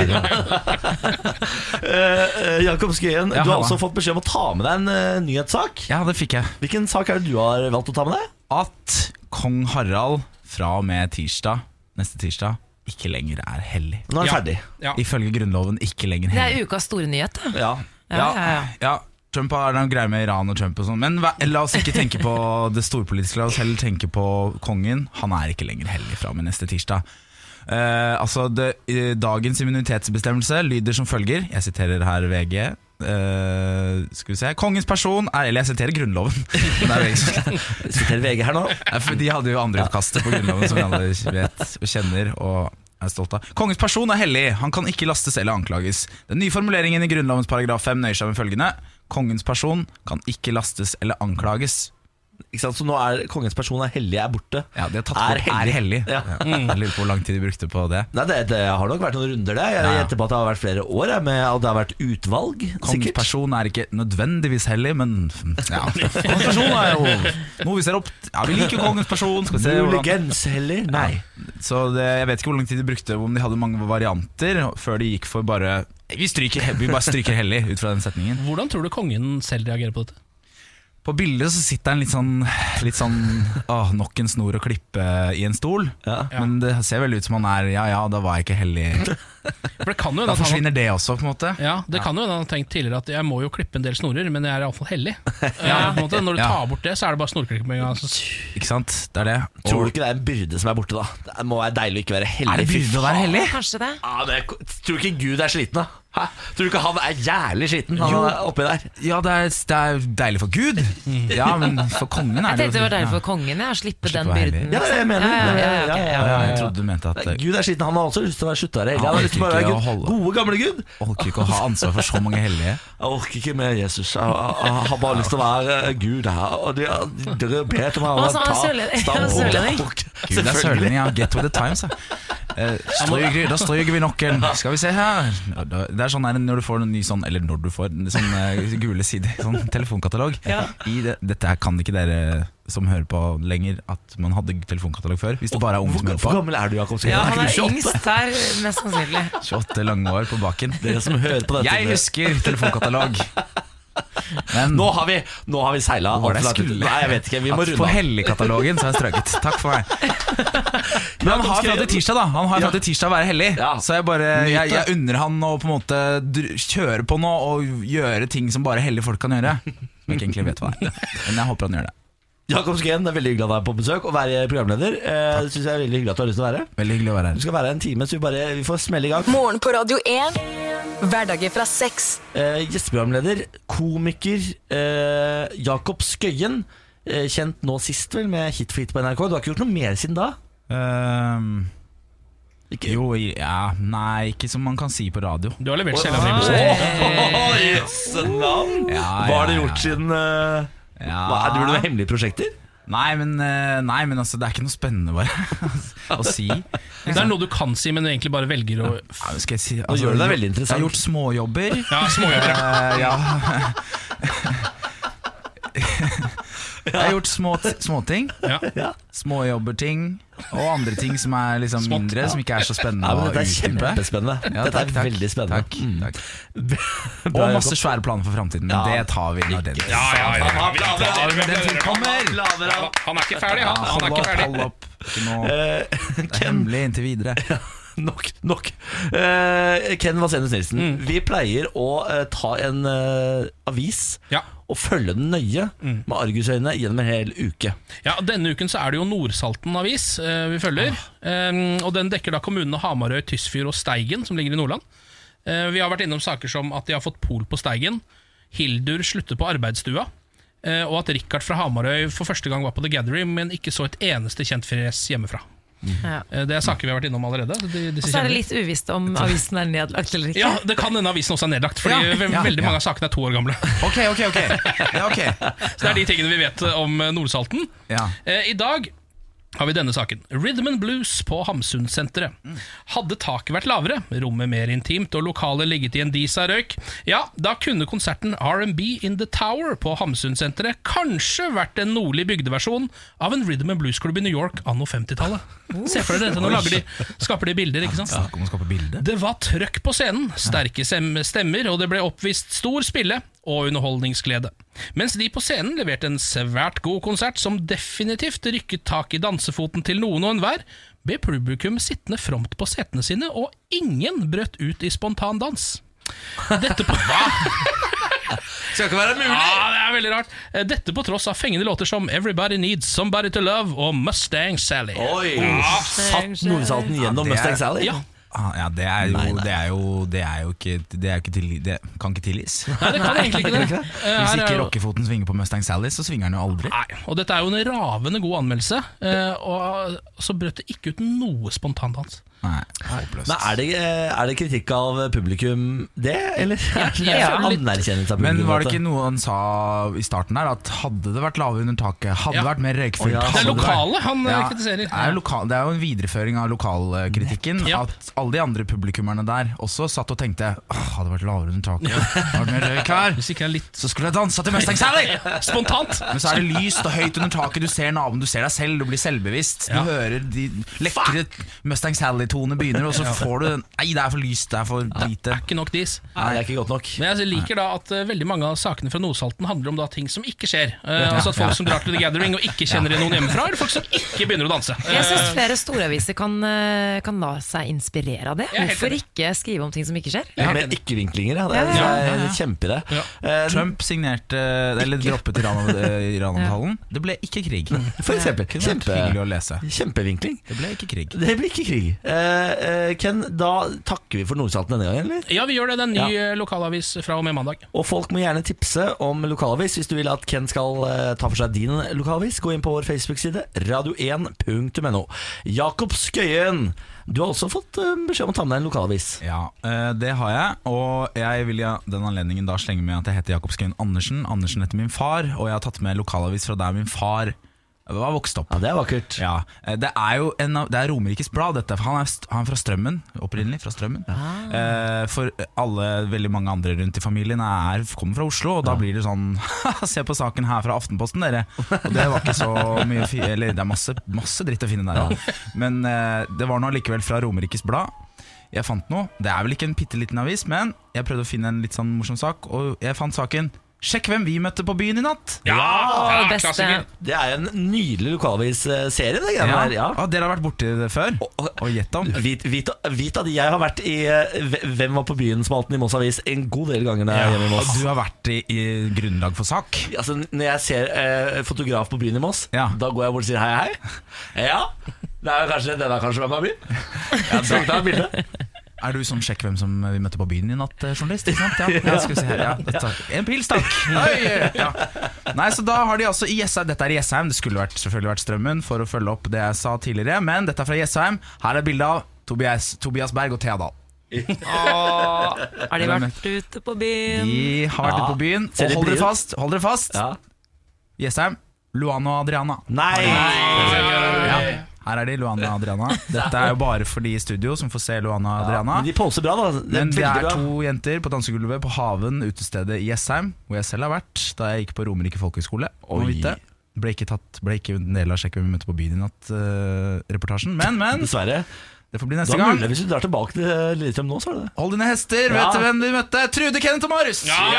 S5: her.
S1: Eh, eh, Jakob Skøyen,
S5: Ja,
S1: du har
S5: halla.
S1: også fått beskjed om å ta med deg en eh, nyhetssak.
S5: Ja, det fikk jeg.
S1: Hvilken sak er det du har valgt å ta med deg?
S5: At kong Harald fra og med tirsdag, neste tirsdag, ikke lenger er hellig.
S1: Nå er den
S3: Ja.
S1: ferdig.
S3: Ja.
S5: Ifølge Grunnloven ikke lenger
S2: Det
S5: hellig.
S2: er ukas store nyhet, da.
S1: Ja.
S2: Ja, ja, ja.
S5: ja. Trump har noen greier med Iran og Trump og sånn. Men hva- la oss ikke tenke på det storpolitiske. La oss heller tenke på kongen. Han er ikke lenger hellig fra og med neste tirsdag. Eh, altså det, eh, Dagens immunitetsbestemmelse lyder som følger. Jeg siterer her VG. Eh, skal vi se Kongens person er Eller jeg siterer Grunnloven. Men det er VG som
S1: Siterer VG her nå.
S5: Nei, for de hadde jo andreutkastet på Grunnloven, som vi alle vet og kjenner. og er stolt av. Kongens person er hellig, han kan ikke lastes eller anklages. Den nye formuleringen i Grunnlovens paragraf 5 nøyer seg med følgende Kongens person kan ikke lastes eller anklages.
S1: Ikke sant? Så nå er kongens person er hellig, er borte.
S5: Ja, de har tatt
S1: Er
S5: bort er hellig.
S1: hellig. Ja.
S5: Ja. Jeg lurer på hvor lang tid de brukte på det.
S1: Nei, det, det har nok vært noen runder, det. Jeg
S5: Ja, ja.
S1: gjetter på at det har vært flere år, jeg, med, og det har vært utvalg.
S5: Kongens
S1: sikkert.
S5: person er ikke nødvendigvis hellig, men ja. Kongens person er jo noe vi ser opp til. Ja, vi liker kongens person. Skal vi se hvordan
S1: Muligens hellig? Nei.
S5: Så det, jeg vet ikke hvor lang tid de brukte, om de hadde mange varianter, før de gikk for bare Vi, stryker, vi bare stryker hellig ut fra den setningen.
S3: Hvordan tror du kongen selv reagerer på dette?
S5: På bildet så sitter han litt sånn, litt sånn åh, nok en snor å klippe i en stol.
S1: Ja.
S5: Men det ser vel ut som han er Ja ja, da var jeg ikke hellig.
S3: For det kan jo hende
S5: Da
S3: at han,
S5: forsvinner det også, på en måte.
S3: ja, det kan jo hende han har tenkt tidligere at jeg må jo klippe en del snorer, men jeg er iallfall hellig. Ja, på en måte. Når du
S5: Ja.
S3: tar bort det, så er det bare snorklipping. Altså.
S5: Ikke sant? Det er det. Og-
S1: Tror du ikke det er en byrde som er borte, da? Det må være deilig å ikke være hellig.
S5: er det
S1: Fy
S5: byrde å
S1: faen.
S5: være hellig?
S2: Kanskje det.
S1: Ja, men jeg, tror du ikke Gud er sliten, da? Hæ? Tror du ikke han er jævlig sliten? Han
S5: Jo.
S1: er oppi der
S5: Ja, det er, det er deilig for Gud. Ja, men for kongen er
S2: Jeg
S5: det
S2: tenkte det var deilig for kongen ja, å slippe den
S5: å være
S2: byrden. liksom.
S5: hellig.
S1: Ja, det er det jeg mener.
S2: Ja, ja, ja,
S1: Det er-
S2: ok,
S5: ja, ja, Jeg trodde du mente at
S1: Nei, Gud er sliten, han har også lyst til å være sluttare. Han har
S5: Han
S1: lyst til å bare
S5: orker
S1: være
S5: ikke å
S1: Gud.
S5: holde-
S1: Gode, gamle Gud.
S5: Orker ikke å ha ansvar for så mange hellige.
S1: Jeg orker ikke med Jesus. Jeg, jeg, jeg har bare lyst til å være eh, Gud her. Og de, de, dere ber til meg om å
S2: Og så er han
S1: ta
S2: sørlending. Han er
S1: stambordet.
S2: sørlending.
S5: Gud, det er sørlending, ja. Get with the times, ja. Eh, stryker, da stryker vi noen. Skal vi se her. Ja, da- Det er sånn her når du får en ny sånn, eller når du får en sånn eh, gule sider, sånn telefonkatalog. I det, dette her kan ikke dere som hører på lenger, at man hadde telefonkatalog før. Hvis det bare er unge som
S1: Hvor,
S5: hører
S1: hvor
S5: på.
S1: gammel er du, Jakob?
S2: Ja,
S1: Er
S2: han
S1: ikke
S2: er
S1: du 28?
S2: yngst her, mest sannsynlig.
S5: 28 lange år på baken.
S1: Dere som hører på dette
S5: Jeg husker telefonkatalog. Men-
S1: Nå har vi, nå har vi seila
S5: Hvor var det
S1: altfor
S5: jeg
S1: langt ut.
S5: skulle?
S1: Nei, jeg vet ikke. Vi må
S5: At på
S1: runde av.
S5: helligkatalogen så har jeg strøket. Takk for meg. Men han har fra til tirsdag, da. Han har fra til tirsdag å være hellig.
S1: Ja.
S5: Så jeg bare
S1: Nyt det.
S5: jeg, jeg unner han å på en måte dr- kjøre på nå og gjøre ting som bare hellige folk kan gjøre. Som jeg ikke egentlig vet hva er. Men jeg håper han gjør det.
S1: Jakob Skien, det er veldig hyggelig at du er på besøk og være programleder. Eh, synes jeg er veldig hyggelig at du har lyst til å være.
S5: Veldig hyggelig å være
S1: Du
S5: her.
S1: skal være her en time, så vi bare vi får smelle i gang.
S4: Morgen på Radio 1. Hverdager fra seks.
S1: Eh, Gjesteprogramleder, komiker eh, Jakob Skøyen. Eh, kjent nå sist, vel, med Hit for hit på NRK. Du har ikke gjort noe mer siden da?
S5: Ehm,
S1: Ikke-
S5: jo, ja Nei, ikke som man kan si på radio.
S3: Du har levert
S1: Åh,
S3: selvangivelser.
S1: jøsse navn!
S5: Ja,
S1: Hva har
S5: ja, Ah.
S1: du
S5: ja.
S1: gjort siden eh,
S5: Ja.
S1: hva, er- Driver du med hemmelige prosjekter?
S5: Nei, men, eh, nei, men altså, det er ikke noe spennende bare å si.
S3: Det er noe du kan si, men du egentlig bare velger å
S5: Ja, men skal jeg si
S1: gjør du deg veldig
S5: Jeg har
S1: interessant.
S5: gjort småjobber.
S3: Ja, småjobber. ja.
S5: Eh, ja. jeg har gjort små, småting.
S3: Ja.
S5: Småjobberting. Og andre ting som er liksom
S3: Smått,
S5: mindre, som ikke er så spennende
S1: Nei, men
S5: å
S1: Dette er
S5: utdype.
S1: kjempespennende.
S5: Ja,
S1: dette er
S5: takk, takk.
S1: veldig spennende.
S5: Takk,
S1: Mm.
S5: takk. Og
S1: Bra,
S5: masse
S1: Jakob.
S5: svære planer for framtiden, men
S1: Ja.
S5: det tar vi når den tid
S3: Ja, ja, ja, ja. Vi applauderer, vi
S5: Den tid
S3: applauderer.
S5: kommer!
S1: Lavere.
S3: Han er ikke ferdig, han. han
S5: Hold
S3: er ikke
S5: opp,
S3: ferdig.
S5: hold opp. Ikke noe
S1: Eh,
S5: det er hemmelig inntil videre.
S1: Nok, nok. Eh, Ken Vasenus Nilsen, vi pleier å eh, ta en eh, avis
S3: Ja.
S1: og følge den nøye med argusøyne gjennom en hel uke.
S3: Ja, og Denne uken så er det jo Nordsalten avis eh, vi følger. Eh, og Den dekker da kommunene Hamarøy, Tysfjord og Steigen, som ligger i Nordland. Eh, vi har vært innom saker som at de har fått pol på Steigen, Hildur slutter på arbeidsstua, eh, og at Richard fra Hamarøy for første gang var på The Gathering, men ikke så et eneste kjent fjes hjemmefra.
S2: Ja.
S3: Eh, det er saker vi har vært innom allerede. så De,
S2: Og så er det litt uvisst om avisen er nedlagt eller ikke.
S3: ja, det kan hende avisen også er nedlagt, fordi
S5: Ja,
S3: ve-
S5: ja,
S3: veldig
S5: ja.
S3: mange av sakene er to år gamle.
S5: Ok, ok, ok. Ja, ok.
S3: Så det er de tingene vi vet eh, om eh, Nordsalten.
S5: Ja.
S3: Eh, I dag har vi denne saken. Rhythm and blues på Hamsunsenteret. Hadde taket vært lavere, rommet mer intimt og lokalet ligget i en dis av røyk, ja, da kunne konserten R&B in the Tower på Hamsunsenteret kanskje vært en nordlig bygdeversjon av en rhythm and blues-klubb i New York anno 50-tallet. Se for deg dette, nå lager de, skaper de bilder, ikke sant?
S5: Snakk om å skape bilde.
S3: Det var trøkk på scenen, sterke sem- stemmer, og det ble oppvist stor spille og underholdningsglede. Mens de på scenen leverte en svært god konsert som definitivt rykket tak i dansefoten til noen og enhver, ble publikum sittende fromt på setene sine, og ingen brøt ut i spontan dans. Dette på
S1: Skal ikke være mulig!
S3: Ja, det er veldig rart. Dette på tross av fengende låter som Everybody Needs Somebody to Love og Mustang Sally.
S1: Oi!
S3: Ja.
S1: Satt Nordsalten gjennom
S5: Ja, det er-
S1: Mustang Sally?
S3: Ja.
S5: Ah, Ja, det er jo,
S1: Nei, nei.
S5: Det er jo, det er jo ikke Det er jo ikke tilgi- Det kan ikke tilgis.
S3: Nei, det kan egentlig ikke det.
S5: Hvis
S3: Eh, Her er
S5: ikke
S3: jo-
S5: rockefoten svinger på Mustang Sally, så svinger den jo aldri.
S3: Nei, og dette er jo en ravende god anmeldelse, eh, og så brøt det ikke ut noe spontandans.
S5: Nei, håpløst.
S1: Men er det, eh, er det kritikk av publikum, det? Eller er det
S2: jeg føler litt-
S1: anerkjennelse av publikum?
S5: Men var det
S1: på en
S5: ikke noe han sa i starten der, at hadde det vært lavere under taket, hadde det
S3: Ja.
S5: vært mer røykfullt
S1: Å, ja.
S5: hadde
S3: Det er
S5: vært-
S3: lokalet han, eh, kritiserer.
S5: Det er, jo lokal, det er jo en videreføring av lokalkritikken.
S3: Ja.
S5: At alle de andre publikummerne der også satt og tenkte Åh, hadde det vært lavere under taket, hadde det vært mer røyk her,
S3: Hvis ikke er litt
S5: så skulle jeg dansa til Mustang Sally!
S3: spontant!
S5: Men så er det lyst og høyt under taket, du ser naboen, du ser deg selv, du blir selvbevisst. Du
S3: Ja.
S5: hører de lekre Mustang Sally-tonene begynner, og så får du den Nei, det er for lyst, det er for lite.
S3: Er ikke nok dis.
S1: Nei, det er ikke godt nok.
S3: Men jeg liker da at eh, veldig mange av sakene fra Nordsalten handler om da ting som ikke skjer. Eh, altså at folk som drar til The Gathering og ikke kjenner igjen noen hjemmefra, eller folk som ikke begynner å danse. Eh,
S2: Jeg syns flere storaviser kan, eh, kan la seg inspirere av det.
S3: Jeg er helt
S2: Hvorfor
S3: enig.
S2: ikke skrive om ting som ikke skjer?
S1: Ja, med ikke-vinklinger, ja. Det er,
S2: Ja,
S1: det er kjempeidé.
S3: Ja.
S1: Eh,
S5: Trump signerte, eller droppet Iran- eh, Iran-avtalen. Det ble ikke krig.
S1: For eksempel.
S5: Kunne vært
S1: Kjempe-
S5: hyggelig å lese.
S1: Kjempevinkling.
S5: Det ble ikke krig.
S1: Det blir ikke krig. Eh, eh, Ken, da takker vi for Nordsalten denne gangen, eller?
S3: Ja, vi gjør det. Det er en ny eh, lokalavis fra og med mandag.
S1: Og folk må gjerne tipse om lokalavis hvis du vil at Ken skal eh, ta for seg din lokalavis. Gå inn på vår Facebook-side, radio1.no. Jakob Skøyen, du har også fått eh, beskjed om å ta med deg en lokalavis.
S5: Ja, eh, det har jeg. Og jeg vil i den anledningen da slenge med at jeg heter Jakob Skøyen Andersen. Andersen heter min far, og jeg har tatt med lokalavis fra der min far var vokst opp.
S1: Ja, det er vakkert.
S5: Ja, eh, Det er jo en av, det er Romerikes Blad, dette. for Han er, st- han er fra Strømmen, opprinnelig. fra Strømmen
S1: Ah.
S5: eh, For alle, veldig mange andre rundt i familien er, kommer fra Oslo, og da blir det sånn Se på saken her fra Aftenposten, dere! Og det var ikke så mye fi, Eller det er masse, masse dritt å finne der også. Men eh, det var nå allikevel fra Romerikes Blad. Jeg fant noe. Det er vel ikke en bitte liten avis, men jeg prøvde å finne en litt sånn morsom sak, og jeg fant saken. Sjekk hvem vi møtte på byen i natt!
S3: Ja,
S2: Åh, beste.
S3: klassiker.
S1: Det er en nydelig lokalvis-serie, det greiene der. Ja.
S5: Ah, dere har vært borti det før?
S1: Og- og-
S5: Og gjett om.
S1: Vit, vit, vit at jeg har vært i eh, Hvem var på byen-spalten i Moss Avis en god del ganger når jeg er Eh, hjemme i Moss.
S5: Du har vært i, i grunnlag for sak.
S1: Altså, når jeg ser eh, fotograf på byen i Moss,
S5: Ja.
S1: da går jeg bort og sier hei, hei. Ja, det er kanskje, den er kanskje hvem er min. Ja, da tar jeg bilde.
S5: Er du sånn 'sjekk hvem som vi møtte på byen i natt', eh, journalist? Ikke sant? Ja, ja, skal vi se her, ja. Takk. En pils, takk! Oi, ja. Nei, så da har de altså i Jessheim Dette er i Jessheim, det skulle vært, selvfølgelig vært Strømmen for å følge opp det jeg sa tidligere, men dette er fra Jessheim. Her er bilde av Tobias, Tobias Berg og Thea Dahl.
S2: Har de vært ute på byen?
S5: De har vært
S1: Ja.
S5: ute på byen.
S1: Ser
S5: Og
S1: de
S5: hold dere
S1: blide ut?
S5: fast! Hold dere fast
S1: Ja.
S5: Jessheim, Luan og Adriana.
S1: Nei!
S5: Ja. Her er de, Luan og Adriana. Dette er jo bare for de i studio som får se Luan og Adriana.
S1: Men de poser bra, da. Det er
S5: Men det
S1: veldig
S5: er
S1: bra.
S5: to jenter på dansegulvet på Haven, utestedet i Jessheim, hvor jeg selv har vært da jeg gikk på Romerike folkehøgskole. må
S1: Oi.
S5: vite. Ble ikke, tatt, ble ikke en del av Sjekk hvem vi møtte på byen i natt-reportasjen. men, men!
S1: Dessverre.
S5: Det får bli
S1: Det
S5: neste
S1: var
S5: gang.
S1: mulig hvis du drar tilbake til Lillestrøm nå, så er det det.
S5: Hold dine
S1: Ja.
S5: hester, vet du hvem vi møtte? Trude, Kenneth og Marius!
S3: Ja.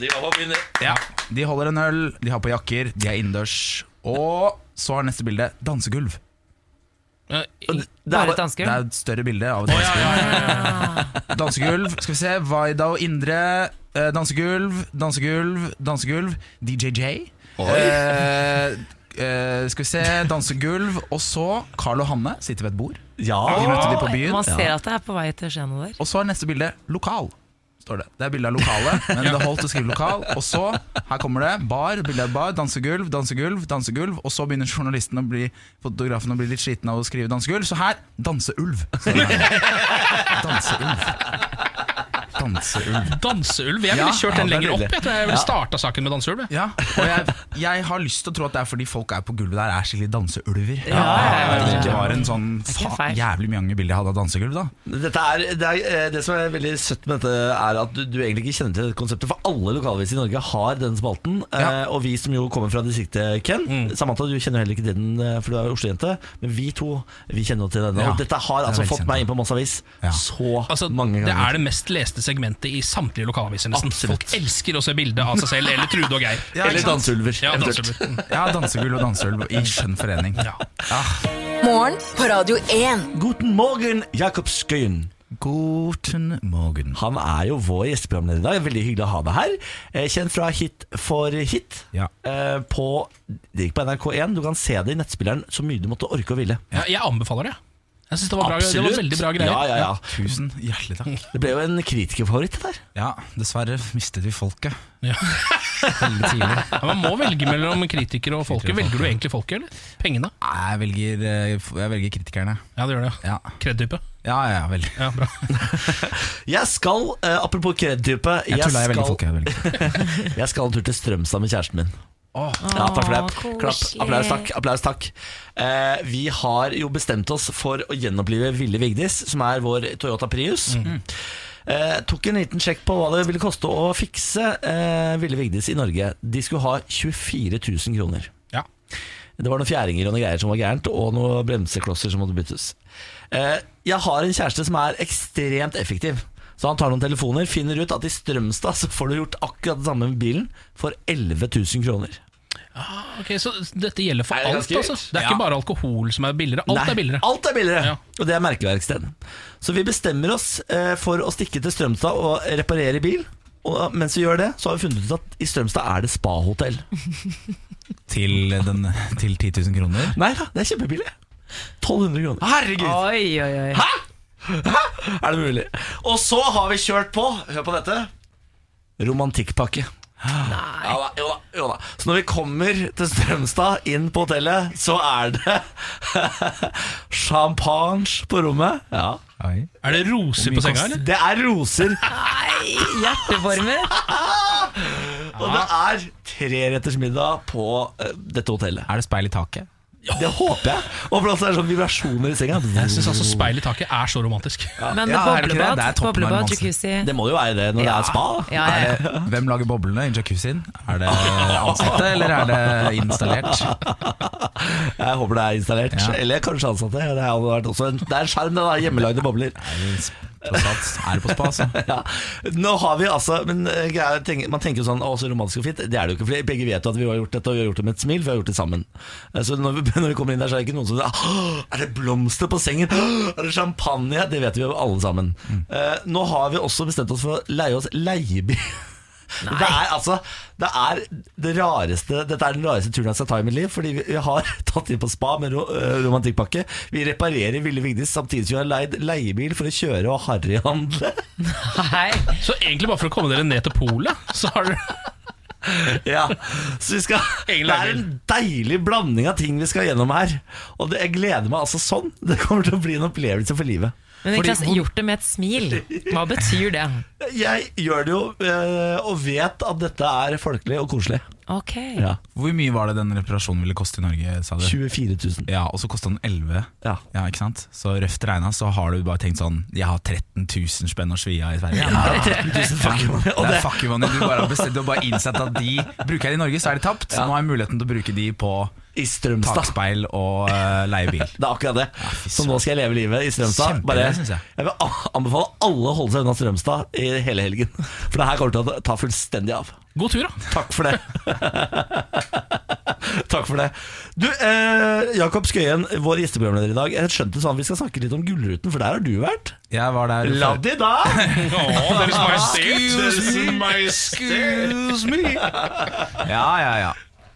S1: De var på byen.
S5: Ja. De holder en øl, de har på jakker, de er innendørs. Og så har neste bilde dansegulv.
S3: Eh,
S2: Bare et
S1: Det
S5: Det
S2: dansegulv?
S5: er et større bilde av et
S3: Å, ja, ja, ja, ja.
S5: dansegulv. Skal vi se, Vaida og Indre. eh, Dansegulv, dansegulv, dansegulv. DJJ. Eh, eh, skal vi se, dansegulv. Og så Carl og Hanne sitter ved et bord.
S1: ja,
S5: De møtte de på
S2: Oi,
S5: byen.
S2: Man ser at det er på vei til å skje noe der.
S5: Og så er neste bilde lokal. Står det. det er bilde av lokalet, men det holdt å skrive lokal. Og så, her kommer det, bar, bilde av bar, dansegulv, dansegulv, dansegulv. Og så begynner journalisten å bli, fotografen å bli litt sliten av å skrive dansegulv. Så her danseulv. står det her. Danseulv. Danseulv.
S3: Danseulv. Jeg
S5: Ja,
S3: ville kjørt den
S5: ja, det er
S3: lenger opp.
S5: nydelig.
S3: Jeg tror jeg ville starta saken med danseulv. jeg.
S5: Ja, og jeg, jeg har lyst til å tro at det er fordi folk er på gulvet der er skikkelig danseulver.
S2: Ja, ja, ja,
S5: At Det ikke var en sånn
S2: er ikke
S5: fa-
S2: feil.
S5: jævlig mange bilder jeg hadde av dansegulv, da.
S1: Dette er, det, er, eh, det som er veldig søtt med dette, er at du, du egentlig ikke kjenner til dette konseptet. For alle lokalaviser i Norge har denne spalten.
S5: Ja. Mm.
S1: Eh, og vi som jo kommer fra distriktet, Ken Samantha, du kjenner heller ikke til den, eh, for du er jo Oslo-jente. Men vi to vi kjenner jo til denne.
S5: Ja,
S1: Og dette har
S5: det er
S1: altså
S5: veldig
S1: fått
S5: kjent,
S1: meg
S5: ja.
S1: inn på Moss Avis
S5: Ja.
S1: så
S3: Altså,
S1: mange
S3: Det
S1: ganger.
S3: er det mest leste segmentet i samtlige lokalaviser. nesten.
S1: Absolutt.
S3: Folk elsker å se bilde av seg selv eller Trude og Geir.
S5: Ja, ikke
S1: Eller
S5: sant?
S1: danseulver.
S3: Ja,
S1: eventuelt.
S3: danseulv. Mm.
S5: Ja, dansegulv og danseulv i skjønn forening.
S3: Ja.
S4: Morgen på Radio 1.
S1: Guten morgen, Jakob Skøyen.
S5: Guten morgen.
S1: Han er jo vår gjesteprogramleder i dag. Veldig hyggelig å ha deg her. Eh, Kjent fra Hit for hit.
S5: Ja.
S1: Eh, På, det gikk på NRK1. Du kan se det i nettspilleren så mye du måtte orke og ville.
S3: Ja, jeg anbefaler det. Jeg synes det, var bra, det var veldig bra greier.
S1: Ja, ja, ja.
S5: Tusen hjertelig takk.
S1: Det ble jo en kritikerfavoritt, det der.
S5: Ja, dessverre mistet vi folket
S3: Ja.
S5: veldig tidlig.
S3: Ja, man må velge mellom kritikere og folket.
S5: Kritikere og
S3: Velger du egentlig folket, eller? Pengene?
S5: Nei, jeg velger, eh, jeg velger kritikerne.
S3: Ja, det gjør det.
S5: Ja,
S3: Kredtype.
S5: ja, ja, veldig.
S3: Ja, bra.
S1: Jeg skal, eh, apropos kredittype jeg,
S5: Jeg tuller, jeg velger
S1: skal-
S5: folket. Jeg velger.
S1: jeg skal en tur til Strømstad med kjæresten min.
S5: Åh,
S1: Ja, takk for det. Klapp.
S2: Åh, koselig.
S1: Applaus, takk. Applaus, takk. Eh, vi har jo bestemt oss for å gjenopplive Ville Vigdis, som er vår Toyota Prius.
S3: Mhm.
S1: Eh, tok en liten sjekk på hva det ville koste å fikse eh, Ville Vigdis i Norge. De skulle ha 24 000 kroner.
S3: Ja.
S1: Det var noen fjæringer og noen greier som var gærent, og noen bremseklosser som måtte byttes. Eh, jeg har en kjæreste som er ekstremt effektiv. Så han tar noen telefoner, finner ut at i Strømstad så får du gjort akkurat det samme med bilen for 11 000 kroner.
S3: Ok, Så dette gjelder for
S1: Er det
S3: alt,
S1: ganske
S3: altså?
S1: dyrt?
S3: Det er
S5: Ja.
S3: ikke bare alkohol som er billigere. Alt
S1: Nei,
S3: er billigere.
S1: Alt er billigere,
S3: Ja.
S1: og det er merkeverksted. Så vi bestemmer oss eh, for å stikke til Strømstad og reparere bil. Og mens vi gjør det, så har vi funnet ut at i Strømstad er det spahotell.
S5: til, den, til 10 000 kroner.
S1: Nei da, det er kjempebillig. 1200 kroner. Ah,
S5: Herregud!
S2: Oi, oi, oi.
S1: Er det mulig? Og så har vi kjørt på, hør på dette, romantikkpakke. Nei. Ja da, jo da, jo da. Så når vi kommer til Strømstad, inn på hotellet, så er det champagne på rommet. Ja.
S5: Oi.
S3: Er det roser på senga, eller?
S1: Det er roser,
S2: Hjerteformer.
S1: og det er treretters middag på eh, dette hotellet.
S5: Er det speil i taket?
S1: Det håper jeg. Og for altså, det er sånn vibrasjoner i senga.
S3: Jeg syns altså speil i taket er så romantisk.
S2: Men
S5: Ja, er det ikke det?
S2: boblebad,
S5: Det er toppen av
S2: boblebad,
S5: romansen.
S2: jacuzzi.
S3: sånn-
S1: Det må jo være det når det er spa. da.
S2: Ja, ja.
S5: Hvem lager boblene i jacuzzien? Er det ansatte, eller er det installert?
S1: Jeg håper det er installert.
S5: Ja.
S1: Eller kanskje ansatte. Det, hadde vært også en, det er en skjerm, det da. Hjemmelagde bobler.
S5: Tross alt er det på spa, altså.
S1: Ja. Nå har vi altså Men eh, greia er, tenk- man tenker jo sånn Å, så romantisk og fint. Det er det jo ikke. For begge vet jo at vi har gjort dette, og vi har gjort det med et smil, for vi har gjort det sammen. Eh, Så når vi, når vi kommer inn der, så er det ikke noen som sier «Åh, Er det blomster på sengen? Åh, Er det champagne? Det vet vi jo alle sammen. Eh, nå har vi også bestemt oss for å leie oss leiebil. Det er altså Det er det rareste Dette er den rareste turen jeg skal ta i mitt liv Fordi vi vi har tatt inn på spa med ro, øh, romantikkpakke Vi reparerer Ville Vigdis Samtidig som vi har leid leiebil for å kjøre og harryhandle
S2: Hei.
S3: Så egentlig bare for å komme dere ned til polet, så har dere
S1: Ja Så vi skal
S3: Egen
S1: Det er
S3: leiebil.
S1: en deilig blanding av ting vi skal gjennom her Og det, jeg gleder meg altså sånn Det kommer til å bli en opplevelse for livet
S2: Men Niklas, gjort det med et smil. Hva betyr det?
S1: Jeg gjør det jo øh, Og vet at dette er folkelig og koselig
S2: Ok.
S1: Ja
S5: Hvor mye var det den reparasjonen ville koste i Norge, sa du?
S1: 24 000
S5: Ja, og så kosta den 11
S1: Ja.
S5: ikke sant? Så røft regna så har du bare tenkt sånn Jeg har 13 000 spenn å svi av i Sverige.
S1: Det er 13 000 fucking money, og
S5: Det
S1: det-
S5: er fuck you money. Du bare har bestemt, du har bare innsett at de bruker her i Norge, så er de tapt. Så nå har jeg muligheten til å bruke de på
S1: I Strømstad
S5: takspeil og eh, leie bil.
S1: Det er akkurat det.
S5: fy
S1: så nå skal jeg leve livet i Strømstad.
S5: Kjempegøy,
S1: Bare,
S5: synes jeg.
S1: jeg vil a- anbefale alle å holde seg unna Strømstad i hele helgen. For det her kommer til å ta fullstendig av.
S3: God tur, da.
S1: Takk for det. Takk for det. Du, eh, Jakob Skøyen, vår gjesteprogramleder i dag. Jeg skjønte sånn, Vi skal snakke litt om Gullruten, for der har du vært.
S5: Jeg var der
S1: La de da!
S3: Deres
S5: Ah,
S1: Excuse
S5: Excuse me! Ja, ja, ja.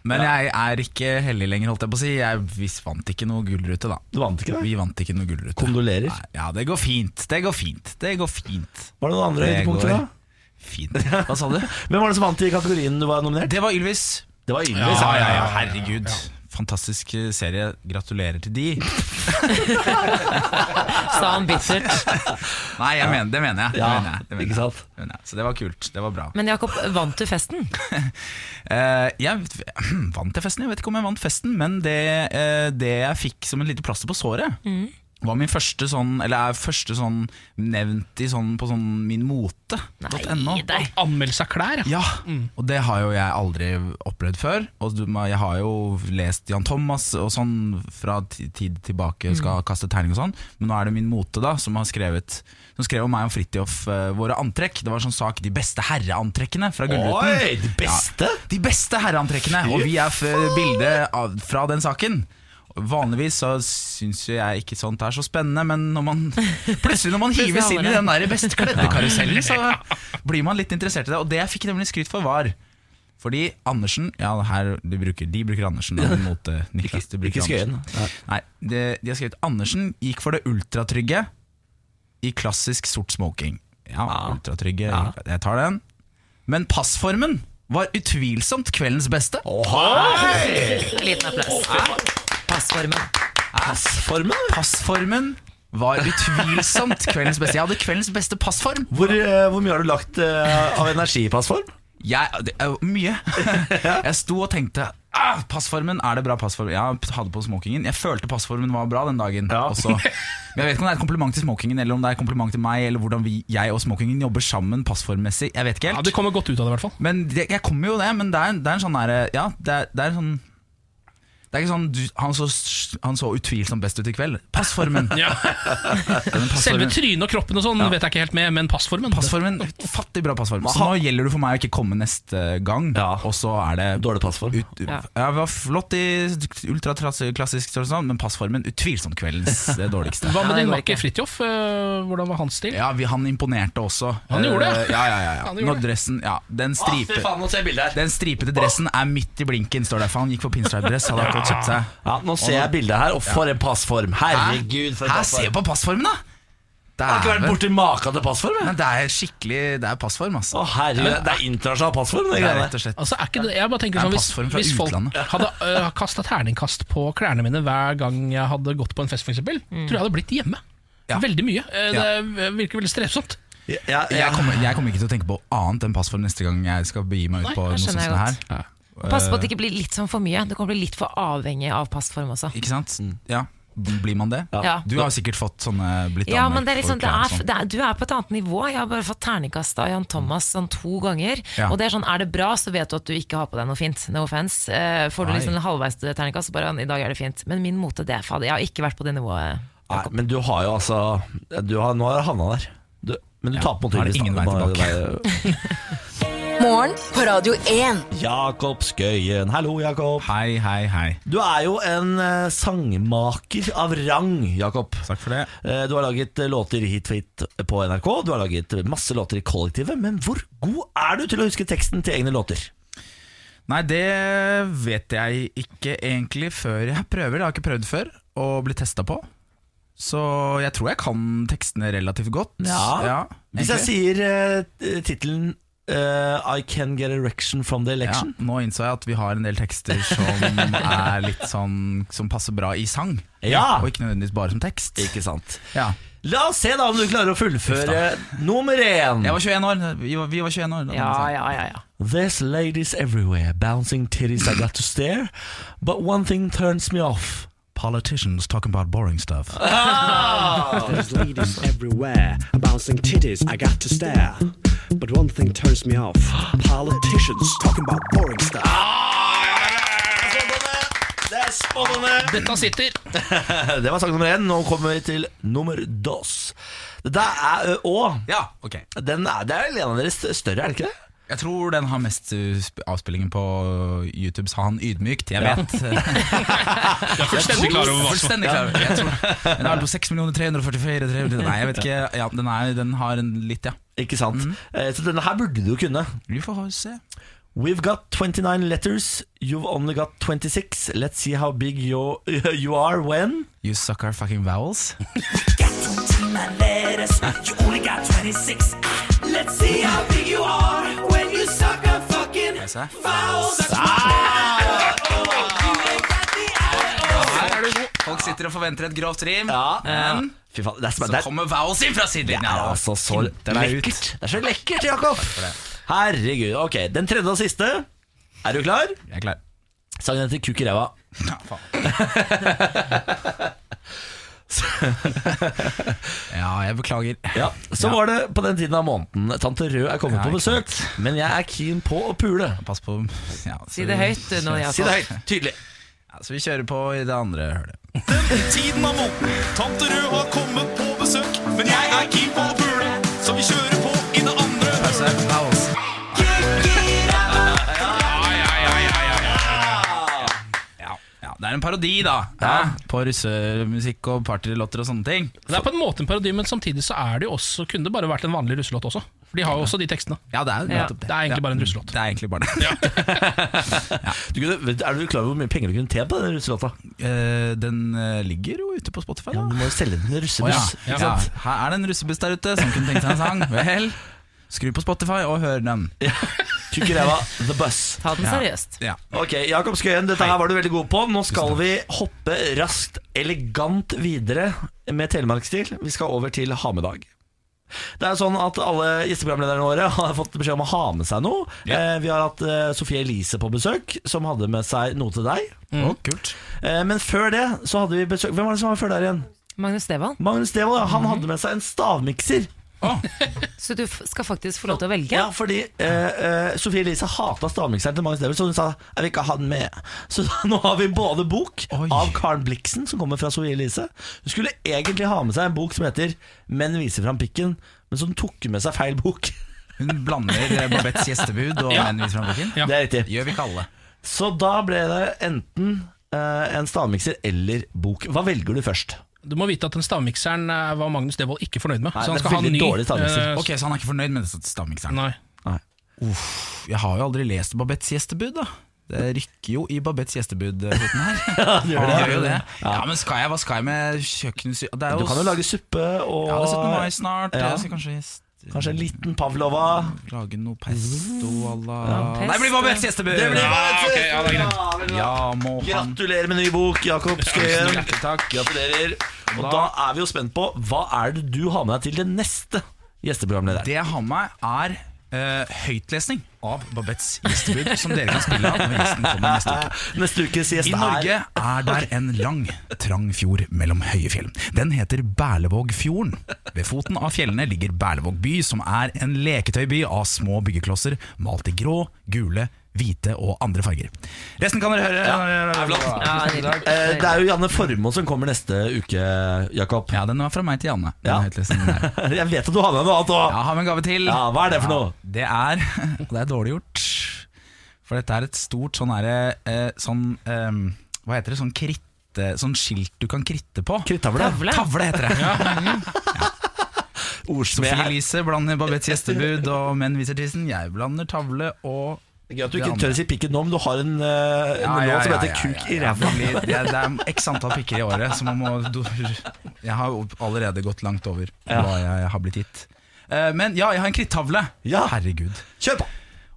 S5: Men jeg er ikke heldig lenger, holdt jeg på å si. Jeg vi vant ikke noe gullrute, da.
S1: Du vant ikke, da?
S5: Vi vant ikke noe gullrute.
S1: Kondolerer.
S5: Nei, Ja, det går fint. Det går fint. Det går fint.
S1: Var det noen andre
S5: Det
S1: høydepunkter,
S5: går
S1: da?
S5: Fint. Hva sa du?
S1: Hvem var det som vant i kategorien du var nominert?
S5: Det var Ylvis.
S1: Det var Ylvis.
S5: Ja, ja, ja, herregud. Fantastisk eh, serie. Gratulerer til de.
S2: Sa han bittert.
S5: Nei, jeg mener, det mener jeg. Det
S1: Ja,
S5: mener jeg. Det mener
S1: ikke
S5: jeg.
S1: sant?
S5: Det mener jeg. Så det var kult. Det var bra.
S2: Men Jakob, vant du festen?
S5: Eh, jeg vant til festen. Jeg vet ikke om jeg vant festen, men det, eh, det jeg fikk som en lite plaster på såret, var min første sånn Eller er første sånn nevnt i sånn, på sånn minmote.no.
S2: Nei, nei.
S3: Anmeldelse av klær, ja.
S5: Ja, og det har jo jeg aldri opplevd før. Og du- jeg har jo lest Jan Thomas og sånn fra ti- tid tilbake, skal kaste terning og sånn. Men nå er det min mote da som har skrevet Som skrev om meg og Fridtjof eh, våre antrekk. Det var sånn sak 'De beste herreantrekkene' fra Gullruten.
S1: Oi, det beste!
S5: De beste herreantrekkene! Og vi er f bildet av, fra den saken. Vanligvis så syns jo jeg ikke sånt er så spennende, men når man plutselig når man hives inn i den der best kledde-karusellen, så blir man litt interessert i det. Og det jeg fikk nemlig skryt for, var fordi Andersen Ja, her de bruker, de bruker Andersen da, mot eh, Niklas. de bruker
S1: ikke Skøyen,
S5: Andersen. Nei, de, de har skrevet Andersen gikk for det ultratrygge i klassisk sort smoking. Ja, ultratrygge. Jeg tar den. Men passformen var utvilsomt kveldens beste.
S2: Liten applaus. Passformen.
S1: Passformen?
S5: Passformen var utvilsomt kveldens beste. Jeg hadde kveldens beste passform.
S1: Hvor, eh, hvor mye har du lagt eh, av energi i passform?
S5: Jeg, det er jo mye. Jeg sto og tenkte ah, Passformen, er det bra passform? Jeg hadde på smokingen. Jeg følte passformen var bra den dagen
S1: Ja.
S5: også. Men jeg vet ikke om det er et kompliment til smokingen, eller om det er et kompliment til meg, eller hvordan vi, jeg og smokingen jobber sammen passformmessig. Jeg vet ikke
S3: ja.
S5: helt.
S3: Det kommer godt ut av det, i hvert fall.
S5: Men det, jeg kommer jo det, men det er, det er en sånn derre Ja, det er, det er en sånn det er ikke sånn du, han, så, han så utvilsomt best ut i kveld. Passformen!
S3: Ja.
S5: Den
S3: Selve
S5: passformen.
S3: trynet og kroppen og sånn vet jeg ikke helt med, men passformen.
S5: Passformen, Fattig bra passform. Så nå gjelder det for meg å ikke komme neste gang.
S1: Ja.
S5: Og så er det
S1: Dårlig passform.
S5: ut,
S2: Ja.
S5: Jeg var flott i ultraklassisk, sånn, sånn, men passformen utvilsomt kveldens eh, dårligste.
S3: Hva
S2: Ja,
S3: med
S2: det
S3: din
S2: går
S3: makker Fridtjof? Eh, Hvordan var hans stil?
S5: Ja, vi, Han imponerte også.
S3: Han gjorde det?
S5: Eh, Ja, ja, ja, ja.
S3: Han gjorde
S5: Når dressen ja, den, stripe,
S1: nå ser jeg bildet
S5: den stripete dressen er midt i blinken, står det. For han gikk for pinstripe-dress. Hadde akkurat kjøpt seg
S1: Ja, nå ser jeg bildet her, og for en passform. Herregud, for en
S5: Hæ, se
S1: passform.
S5: på passformen, da! Det
S1: Jeg har ikke
S5: er,
S1: vært
S5: vel-
S1: borti maka til passform. jeg.
S5: men det er skikkelig Det er passform, altså.
S1: Å herregud, Det er internasjonal passform. Det
S5: Det er
S1: greiene
S5: rett og
S1: der.
S5: slett
S3: Altså, er ikke det, jeg bare tenker
S5: Det er
S3: sånn
S5: en
S3: Hvis,
S5: passform fra
S3: hvis folk
S5: utlandet.
S3: hadde uh, kasta terningkast på klærne mine hver gang jeg hadde gått på en fest, f.eks., tror jeg hadde blitt hjemme.
S5: Ja.
S3: Veldig mye. Eh, Det virker veldig strevsomt.
S1: Ja, ja,
S5: jeg kommer, jeg kommer ikke til å tenke på annet enn passform neste gang jeg skal begi meg ut
S3: Nei,
S5: på
S2: det
S5: noe sånt
S2: skjønner jeg
S5: som det her.
S2: Pass på at det ikke blir litt sånn for mye. Du kan bli litt for avhengig av passform også.
S5: Ikke sant? Ja. Blir man det?
S2: Ja.
S5: Du har sikkert fått sånne blitt
S2: Ja,
S5: anmeldt
S2: men det er
S5: for
S2: liksom, det
S5: klær og
S2: er,
S5: sånn.
S2: det er, du er på et annet nivå. Jeg har bare fått terningkast av Jan Thomas sånn to ganger.
S5: Ja.
S2: Og det Er sånn, er det bra, så vet du at du ikke har på deg noe fint. No offense. Eh, får du
S5: Nei.
S2: liksom en halvveis terningkast, så bare i dag er det fint. Men min mote, det er fader. Jeg har ikke vært på det nivået.
S1: Nei, men du har jo altså du har, Nå har du havna der. Du Men du taper mot
S5: da er
S1: Hylvis,
S5: det
S1: da.
S5: ingen vei
S1: Bare-
S5: tilbake.
S1: det er-
S4: Morgen på Radio 1.
S1: Jakob Skøyen. Hallo, Jakob.
S5: Hei, hei, hei.
S1: Du er jo en eh, sangmaker av rang, Jakob.
S5: Takk for det.
S1: Eh, Du har laget eh, låter hit for hit på NRK, du har laget masse låter i kollektivet, men hvor god er du til å huske teksten til egne låter?
S5: Nei, det vet jeg ikke egentlig før jeg prøver. Jeg har ikke prøvd før og blitt testa på. Så jeg tror jeg kan tekstene relativt godt.
S1: Ja. Hvis jeg
S5: egentlig.
S1: sier uh, tittelen eh, I Can Get Erection From The
S5: ja,
S1: Election
S5: Nå innså jeg at vi har en del tekster som er litt sånn Som passer bra i sang,
S1: Ja.
S5: og ikke nødvendigvis bare som tekst.
S1: Ikke sant?
S5: Ja.
S1: La oss se da om du klarer å fullføre nummer én.
S5: Jeg var 21 år. Vi var, vi var 21 år da.
S2: Ja, ja, ja, ja.
S1: There's ladies everywhere, bouncing titties I got to stare, but one thing turns me off.
S5: Politicians talking about boring stuff.
S1: Ah!
S6: There's ladies everywhere, bouncing titties, I got to stare. But one thing turns me off politicians talking about boring stuff.
S1: Ah, Det er spennende!
S3: Dette sitter.
S1: Det var sang nummer én. Nå kommer vi til nummer dos. Dette er ø, Å.
S5: Ja, ok
S1: Den er, det er vel en av deres større, er det ikke det?
S5: Jeg tror den har mest uh, sp- avspillingen på YouTube, sa han ydmykt. Jeg vet.
S3: Jeg er fullstendig klar over hva som
S5: Fullstendig klar over. Jeg tror, den er på 6 344 300 Nei, jeg vet ikke. Ja, den, er, den har en litt, ja.
S1: Ikke sant?
S5: Mm.
S1: Eh, Så denne her burde du jo kunne.
S5: Vi får se.
S1: We've got 29 letters, you've only got 26. Let's see how big you, you are when
S5: You suck our fucking vowels. Let's see how big you are when you suck our fucking vowels. Her er du god. Folk sitter og forventer et grovt rim. Men
S1: Fy faen, det er,
S5: så
S1: det er,
S5: kommer vowels inn fra
S1: det
S5: sidelinja.
S1: er altså så
S5: Henter meg ut.
S1: lekkert. Det er så lekkert, Jakob. Herregud. Ok, den tredje og siste. Er du klar?
S5: Jeg er klar.
S1: Sangen heter Kuk i ræva.
S5: Ja, faen. ja, jeg beklager.
S1: Ja, så
S5: Ja.
S1: var det på den tiden av måneden. Tante Rød er kommet
S5: Ja,
S1: på
S5: ikke
S1: besøk, men jeg er keen på å pule.
S5: Pass på ja, så
S2: Si det
S5: vi-
S2: høyt du, nå,
S1: Si det
S2: Jakob.
S1: høyt. Tydelig.
S5: Ja, så vi kjører på i det andre hølet.
S7: Tiden er moden. Tante Rød har kommet på besøk. Men jeg er keen på å pule, så vi kjører på i det andre
S5: Så er det vowels. Ja, ja, det er en parodi, da. Hæ? På russemusikk og partylåter og sånne ting.
S3: Det er på en måte en parodi, men samtidig så er det jo også, kunne det bare vært en vanlig russelåt også. For de har jo også de tekstene.
S5: Ja, det er jo
S2: Ja.
S5: nettopp
S3: Det er egentlig
S5: Ja.
S3: bare en russelåt.
S5: Det er egentlig bare det.
S1: Du kunne, vet- er du klar over hvor mye penger du kunne tjent på den russelåta?
S5: Eh, den eh, ligger jo ute på Spotify,
S1: Ja,
S5: da.
S1: men du må jo selge den i
S5: Å, ja.
S1: russebuss.
S5: Ja.
S1: ikke sant?
S5: Her er det en russebuss der ute som kunne tenkt seg en sang. Vel, skru på Spotify og hør den.
S1: Tjukk i ræva, the bus.
S2: Ta den seriøst.
S5: Ja.
S1: Ok, Jakob Skøyen, dette her var du veldig god på. Nå skal vi hoppe raskt, elegant videre med telemarksstil. Vi skal over til ha med dag. Det er jo sånn at Alle gjesteprogramlederne våre har fått beskjed om å ha med seg noe. Eh, vi har hatt eh, Sofie Elise på besøk, som hadde med seg noe til deg.
S5: Å, kult.
S1: Eh, men før det så hadde vi besøk Hvem var det som var før der igjen?
S2: Magnus Devold,
S1: Magnus Devold. ja, Han hadde med seg en stavmikser.
S2: så du f- skal faktisk få lov til å velge.
S1: Ja, fordi eh, eh, Sofie Elise hata stavmikseren til Magnus Devold, så hun sa jeg vil ikke ha den med. Så nå har vi både bok
S5: Oi.
S1: av Karen Blixen, som kommer fra Sofie Elise. Hun skulle egentlig ha med seg en bok som heter 'Menn viser fram pikken', men så hun tok med seg feil bok.
S5: Hun blander eh, Babettes gjestebud og Menn viser fram boken.
S3: Ja.
S1: Det er riktig.
S5: Gjør vi ikke alle.
S1: Så da ble det enten eh, en stavmikser eller bok. Hva velger du først?
S3: Du må vite at den stavmikseren eh, var Magnus Devold ikke fornøyd med.
S1: Nei,
S3: så han
S1: det er
S3: skal ha
S1: veldig
S3: en ny.
S1: dårlig stavmikser.
S3: eh,
S5: Ok, Så han er ikke fornøyd med stavmikseren?
S3: Nei.
S5: Jeg har jo aldri lest Babettes gjestebud, da. Det rykker jo i Babettes gjestebud-foten her. ja, det gjør jo det. Ja, Men skal jeg, hva skal jeg med kjøkkensyre Det er
S1: Du
S5: jo,
S1: kan jo lage suppe og
S5: Ja, det er 17. mai snart.
S1: Ja.
S5: Jeg skal kanskje s-
S1: kanskje en liten pavlova.
S5: lage noe pesto à la
S2: pesto.
S5: Nei, det blir Babettes gjestebud!
S1: Det blir
S3: Ja, ok, ja, det er greit.
S1: Ja, vel, da.
S5: Ja, må han
S1: Gratulerer med ny bok, Jakob Skøyen.
S5: Hjertelig takk.
S1: Gratulerer. Og da er vi jo spent på hva er det du har med deg til det neste gjesteprogramleder.
S5: Det jeg har med meg, er eh, høytlesning av Babettes gjestebud, som dere kan spille av når gjesten kommer neste uke.
S1: Neste ukes gjest
S5: I Norge
S1: er
S5: er der en lang, trang fjord mellom høye fjell. Den heter Berlevågfjorden. Ved foten av fjellene ligger Berlevåg by, som er en leketøyby av små byggeklosser malt i grå, gule, hvite og andre farger. Resten kan dere høre.
S2: Ja, nydelig.
S1: Eh, Det er jo Janne Formoe som kommer neste uke, Jakob.
S5: Ja, den var fra meg til Janne. Den
S1: Ja.
S5: hitlisten der.
S1: Jeg vet at du har med deg noe annet
S5: Jeg
S1: òg.
S5: har med en gave til.
S1: Ja, hva er det for
S5: Ja,
S1: noe?
S5: Det er og Det er dårlig gjort. For dette er et stort sånn herre eh, Sånn eh, Hva heter det? Sånn kritte Sånn skilt du kan kritte på.
S1: Krittavle.
S2: Tavle.
S5: Tavle heter det.
S1: Ordsmed
S5: Sofie
S1: her.
S5: Elise blander Babettes gjestebud og Menn viser tissen. Jeg blander tavle og
S1: Gøy at du
S5: Det
S1: ikke
S5: andre.
S1: tør å si pikken nå, men du har en, uh, en låt som heter Kuk i
S5: ja,
S1: ræva.
S5: det blir- Det, er- det er x antall pikker i året, så man må du- Jeg har jo allerede gått langt over hva jeg har blitt gitt. Eh, Men ja, jeg har en krittavle.
S1: Ja.
S5: Herregud.
S1: Kjør på!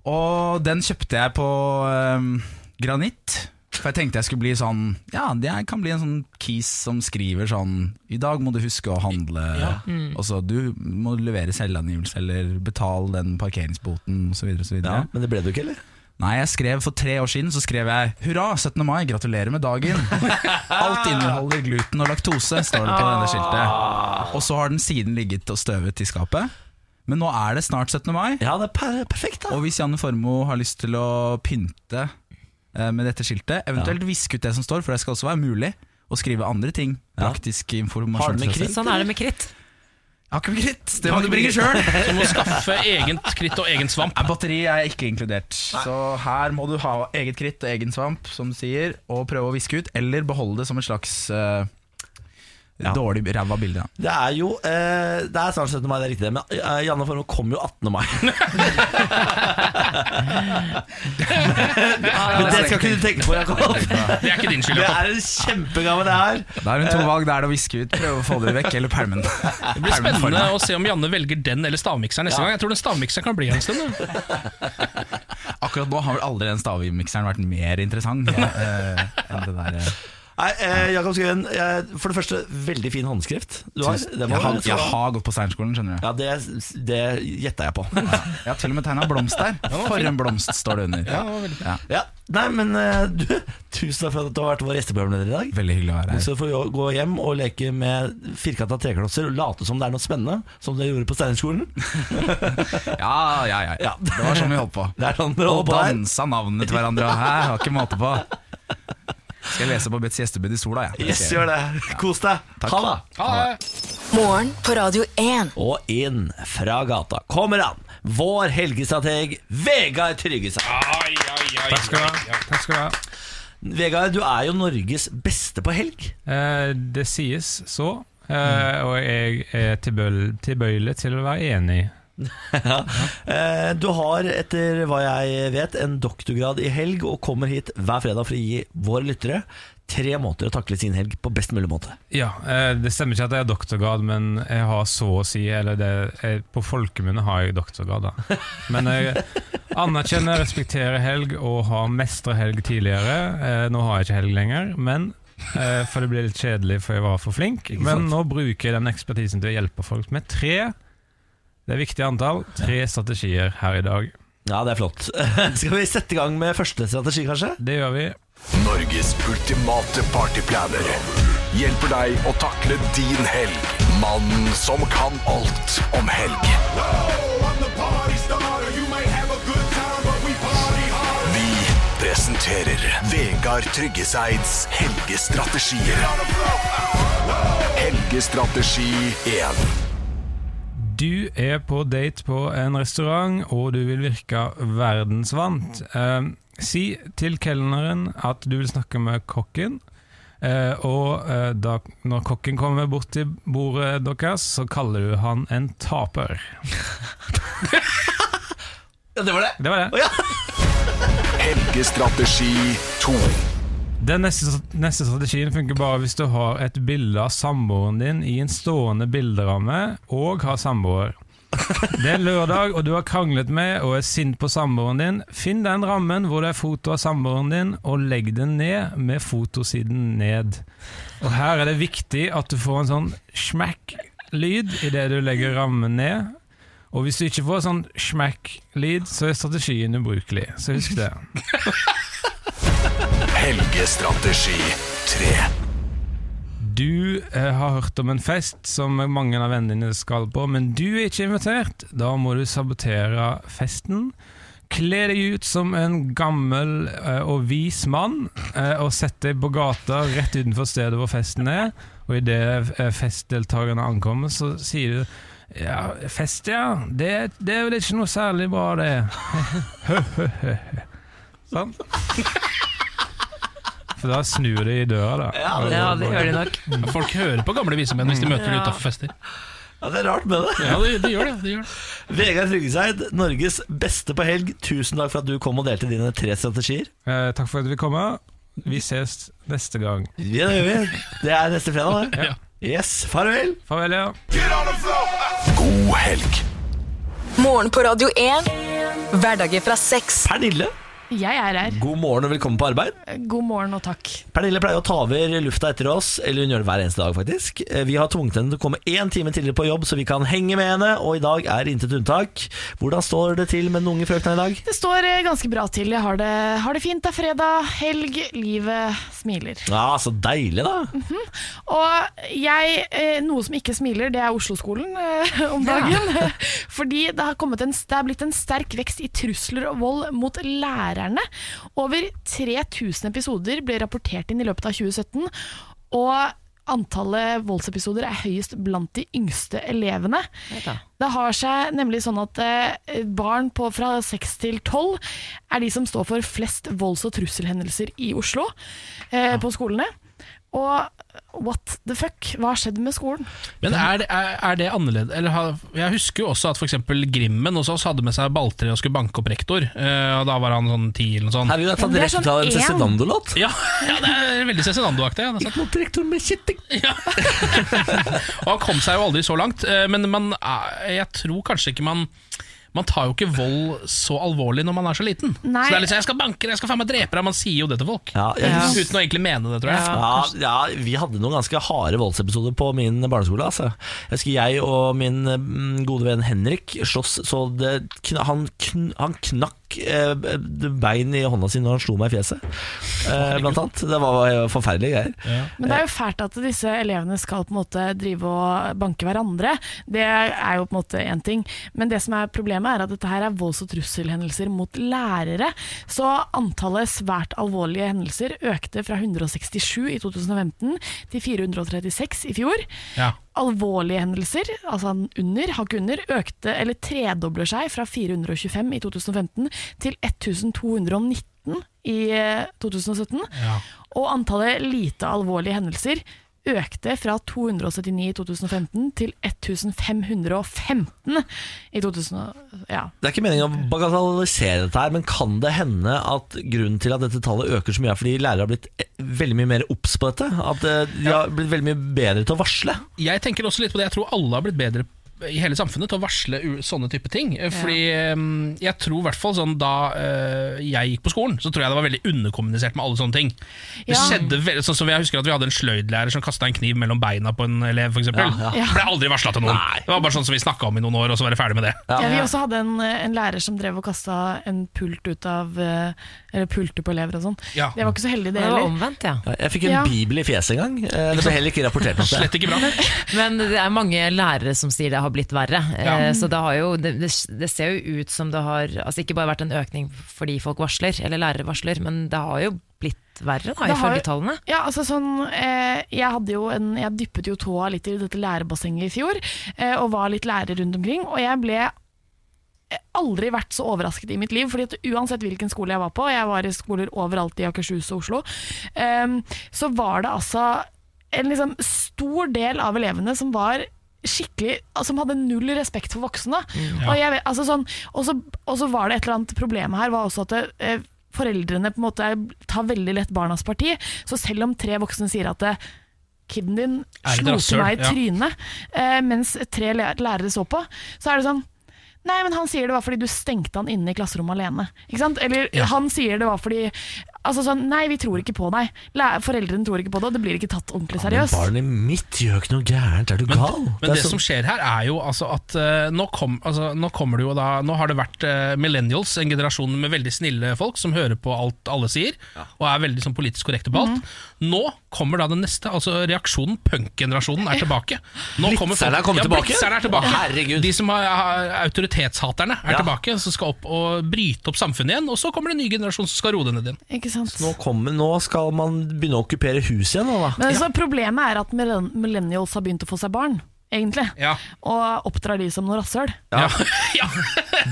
S5: Og den kjøpte jeg på ehm, granitt. For jeg tenkte jeg skulle bli sånn Ja, jeg kan bli en sånn kis som skriver sånn I dag må du huske å handle. Og så Du må levere selvangivelse eller betale den parkeringsboten osv.
S1: Ja,
S5: videre
S1: men det ble du ikke, eller?
S5: Nei, jeg skrev for tre år siden Så skrev jeg Hurra, 17. mai, gratulerer med dagen Alt inneholder gluten og laktose Står det på denne skiltet Og så har den siden ligget og støvet i skapet Men nå er det snart 17. mai
S1: Ja, det er per perfekt, da.
S5: Og hvis Janne Formoe har lyst til å pynte eh, Med dette skiltet Eventuelt viske ut det som står For det skal også være mulig å skrive andre ting Praktisk informasjon
S1: Har du med
S5: til seg selv.
S2: Sånn er det med kritt.
S5: Jeg har ikke med kritt Det må du bringe selv
S3: Du må skaffe eget kritt og egen svamp.
S5: Nei, Batteri er ikke inkludert. Så her må du ha eget kritt og egen svamp, som du sier, og prøve å viske ut, eller beholde det som et slags eh, dårlig ræva bilde.
S1: Det er jo eh, Det er snart 17. mai, det er riktig, det, men eh, Janne Formoe kommer jo 18. mai. men det skal ikke du tenke på, Jakob.
S3: Det er ikke din skyld.
S1: Det
S3: Jakob.
S1: er en kjempegave, det her.
S5: Da er det to valg. Det er det å viske ut, prøve å få det vekk, eller pælmen.
S3: Det blir spennende å se om Janne velger den eller stavmikseren neste gang. Jeg tror den stavmikseren kan bli her en stund. da.
S5: Akkurat nå har vel aldri den stavmikseren vært mer interessant eh, enn det der. eh.
S1: Nei, eh, Jakob Skøyen, eh, for det første, veldig fin håndskrift du har. Det sånn.
S5: Jeg,
S1: må
S5: har,
S1: være-
S5: jeg har gått på Steinerskolen, skjønner du.
S1: Ja, det, det gjetta jeg på.
S5: Jeg har til og med tegna blomst der. For en blomst står det under. Ja,
S1: Ja. Nei, men eh, du, tusen takk for at du har vært vår gjesteprogramleder i dag.
S5: veldig hyggelig å være her.
S1: Så får vi jo gå hjem og leke med firkanta treklosser og late som det er noe spennende, som dere gjorde på Steinerskolen.
S5: Ja, ja, ja.
S1: Ja.
S5: Det var sånn vi holdt på.
S1: Det er sånn dere
S5: Og
S1: holder på her.
S5: dansa navnene til hverandre. og Hæ, har ikke måte på. Skal jeg lese på Betts gjestebud i sola, jeg.
S1: Yes, gjør det. Kos deg. Ha det.
S3: Ha det.
S4: Morgen på Radio 1.
S1: Og inn fra gata kommer han, vår helgestrateg Vegard Tryggestad.
S3: Ai, ai, ai,
S8: Takk skal du
S3: ai,
S8: ha.
S3: ai.
S8: Takk skal du ha.
S1: Vegard, du er jo Norges beste på helg.
S8: Eh, det sies så, eh, og jeg er tilbøyelig, tilbøyelig til å være enig.
S1: Eh, Du har, etter hva jeg vet, en doktorgrad i helg og kommer hit hver fredag for å gi våre lyttere tre måter å takle sin helg på best mulig måte.
S8: Ja, eh, Det stemmer ikke at jeg har doktorgrad, men jeg har så å si Eller det, jeg, på folkemunne har jeg doktorgrad, da. Men jeg anerkjenner, respekterer helg og har mestra helg tidligere. Eh, nå har jeg ikke helg lenger, men eh, for det ble litt kjedelig, for jeg var for flink. Men nå bruker jeg den ekspertisen til å hjelpe folk med tre det er viktig antall, tre strategier her i dag.
S1: Ja, det er flott. Skal vi sette i gang med første strategi, kanskje?
S8: Det gjør vi.
S9: Norges ultimate partyplaner hjelper deg å takle din helg. Mannen som kan alt om helg. Vi presenterer Vegard Tryggeseids helgestrategier. Helgestrategi 1.
S8: Du er på date på en restaurant, og du vil virke verdensvant. Eh, si til kelneren at du vil snakke med kokken, eh, og eh, da, når kokken kommer bort til bordet deres, så kaller du han en taper.
S1: Ja, det var det.
S8: Det var det.
S9: Helgestrategi 2.
S8: Den neste, neste strategien funker bare hvis du har et bilde av samboeren din i en stående bilderamme, og har samboer. Det er lørdag, og du har kranglet med og er sint på samboeren din. Finn den rammen hvor det er foto av samboeren din, og legg den ned med fotosiden ned. Og her er det viktig at du får en sånn smekk-lyd idet du legger rammen ned. Og hvis du ikke får sånn smekk-lyd, så er strategien ubrukelig. Så husk det.
S9: Helgestrategi 3.
S8: Du eh, har hørt om en fest som mange av vennene dine skal på, men du er ikke invitert. Da må du sabotere festen. Kle deg ut som en gammel eh, og vis mann, eh, og sett deg på gata rett utenfor stedet hvor festen er. Og idet eh, festdeltakerne ankommer, så sier du ja, fest, ja. Det, det er vel ikke noe særlig bra, det. sånn. For da snur de i døra, da.
S2: Ja, det gjør de nok.
S3: Folk hører på gamle visemenn hvis de møter dem utafor fester.
S1: Ja, det er rart med det.
S3: Ja, de, de gjør det, de gjør det.
S1: Vegard Tryggeseid, Norges beste på helg. Tusen takk for at du kom og delte dine tre strategier.
S8: Eh, takk for at vi kom. Vi ses neste gang.
S1: Ja, det gjør vi. Det er neste fredag, det. Yes, farvel.
S8: Farvel, ja.
S9: God helg.
S4: Morgen på Radio 1. Hverdager fra seks.
S1: Pernille,
S10: Jeg er her.
S1: god morgen og velkommen på arbeid.
S10: God morgen og takk.
S1: Pernille pleier å ta over lufta etter oss, eller hun gjør det hver eneste dag, faktisk. Eh, Vi har tvunget henne til å komme én time tidligere på jobb, så vi kan henge med henne, og i dag er intet unntak. Hvordan står det til med den unge frøkna i dag?
S10: Det står eh, ganske bra til. Jeg har det, har det fint. Det er fredag, helg, livet smiler.
S1: Ja, så deilig, da.
S10: Og jeg, eh, noe som ikke smiler, det er Oslo-skolen eh, om dagen. Fordi det har, kommet en, det har blitt en sterk vekst i trusler og vold mot lærerne. Over 3000 episoder ble rapportert inn i løpet av 2017. Og antallet voldsepisoder er høyest blant de yngste elevene.
S2: da.
S10: Det har seg nemlig sånn at eh, barn på fra 6 til 12 er de som står for flest volds- og trusselhendelser i Oslo eh, på skolene. Og what the fuck, hva har skjedd med skolen?
S3: Men er det, er, er det annerledes? Eller, har- jeg husker jo også at f.eks. Grimmen hos oss hadde med seg balltre og skulle banke opp rektor. eh, Og da var han sånn ti eller noe sånt.
S1: Herregud, jeg har
S10: Men
S1: tatt
S10: det er
S1: rett ut
S10: sånn
S1: av en
S10: én.
S1: Cezinando-låt.
S3: Ja, ja, det er veldig Cezinando-aktig. ja, det er sant.
S1: Mot rektor med kjetting.
S3: Og han kom seg jo aldri så langt. eh, Men man, er- jeg tror kanskje ikke man man tar jo ikke vold så alvorlig når man er så liten.
S10: Nei.
S3: Så det er litt sånn, jeg skal banke deg, jeg skal faen meg drepe deg. Man sier jo det til folk.
S1: Ja, jeg husker
S3: Uten å egentlig mene det, tror jeg.
S1: Ja, ja, vi hadde noen ganske harde voldsepisoder på min barneskole. Altså. Jeg husker jeg og min mm, gode venn Henrik slåss så det kn han, kn han knakk eh, bein i hånda si når han slo meg i fjeset, eh, blant annet. Det var eh, forferdelige greier.
S10: Men det er jo fælt at disse elevene skal på en måte drive og banke hverandre. Det er jo på en måte én ting. Men det som er problemet er at dette her er volds- og trusselhendelser mot lærere. Så antallet svært alvorlige hendelser økte fra 167 i 2015 til 436 i fjor.
S3: Ja.
S10: Alvorlige hendelser, altså under, hakk under, økte eller tredobler seg fra 425 i 2015 til 1219 i eh, 2017. Og antallet lite alvorlige hendelser økte fra 279 i 2015 til 1515 i 2000, ja,
S1: Det er ikke meningen å bagatellisere dette, her, men kan det hende at grunnen til at dette tallet øker så mye, er fordi lærere har blitt eh, veldig mye mer obs på dette? At eh, de har blitt veldig mye bedre til å varsle?
S3: Jeg tenker også litt på det. Jeg tror alle har blitt bedre i hele samfunnet til å varsle u- sånne type ting. Eh, Fordi eh, jeg tror i hvert fall sånn da eh, jeg gikk på skolen, så tror jeg det var veldig underkommunisert med alle sånne ting. Det
S10: Ja.
S3: skjedde veldig, sånn som Jeg husker at vi hadde en sløydlærer som kasta en kniv mellom beina på en elev, f.eks.
S1: Ja, ja.
S3: Ble aldri varsla til noen. Det var bare sånn som vi snakka om i noen år, og så var det ferdig med det.
S10: Ja, vi også hadde en, en lærer som drev og kasta en pult ut av eh, Eller pulte på elever og sånn.
S3: Ja.
S10: Det var ikke så heldig, det
S2: Det var
S10: heller.
S2: omvendt, ja.
S1: Jeg fikk en
S10: Ja.
S1: bibel i fjeset en gang. eh, Det ble heller ikke rapportert om det.
S3: Slett ikke bra.
S2: Men det er mange lærere som sier det har blitt verre. Eh, Så det, har jo, det, det, det ser jo ut som det har altså ikke bare vært en økning fordi folk varsler, eller lærere varsler, men det har jo blitt verre, da,
S10: Det har-
S2: ifølge tallene.
S10: Ja, altså sånn eh, Jeg hadde jo en Jeg dyppet jo tåa litt i dette lærebassenget i fjor, eh, og var litt lærer rundt omkring, og jeg ble aldri vært så overrasket i mitt liv, fordi at uansett hvilken skole jeg var på, og jeg var i skoler overalt i Akershus og Oslo, ehm, så var det altså en liksom stor del av elevene som var skikkelig, altså, som hadde null respekt for voksne.
S3: Mm,
S10: Og, jeg, vet- altså sånn, og, så, og så var det et eller annet problem her, var også at det, eh, foreldrene på en måte tar veldig lett barnas parti, så selv om tre voksne sier at det, kiden din
S3: Er et
S10: slo
S3: rasshøl,
S10: til meg i
S3: ja.
S10: trynet, eh, mens tre læ- lærere så på, så er det sånn Nei, men han sier det var fordi du stengte han inne i klasserommet alene. Ikke sant? Eller han sier det var fordi Altså sånn, Nei, vi tror ikke på deg. Læ- Foreldrene tror ikke på det, og det blir ikke tatt ordentlig
S1: Men
S10: seriøst.
S1: barnet mitt gjør ikke noe gærent, er du gal?
S3: Men det,
S1: er
S3: som skjer her er jo altså at eh, nå, kom, altså, nå kommer det jo da Nå har det vært eh, millennials, en generasjon med veldig snille folk som hører på alt alle sier, og er veldig sånn politisk korrekte på alt.
S1: Mhm.
S3: Nå kommer da den neste, altså reaksjonen punkgenerasjonen er tilbake. Nå kommer folk-
S1: Blitzerne er kommet
S3: ja,
S1: tilbake?
S3: Blitzerne er tilbake.
S1: Å, herregud.
S3: De som har, har autoritetshaterne er
S1: Ja.
S3: tilbake, som skal opp og bryte opp samfunnet igjen. Og så kommer det en ny generasjon som skal roe det ned igjen.
S10: Ikke sant?
S1: nå, kommer, nå skal man begynne å okkupere hus igjen, nå, da.
S10: Men så Problemet er at millen- millennials har begynt å få seg barn, egentlig.
S3: Ja.
S10: Og oppdrar de som noe rasshøl.
S1: Ja.
S3: Ja.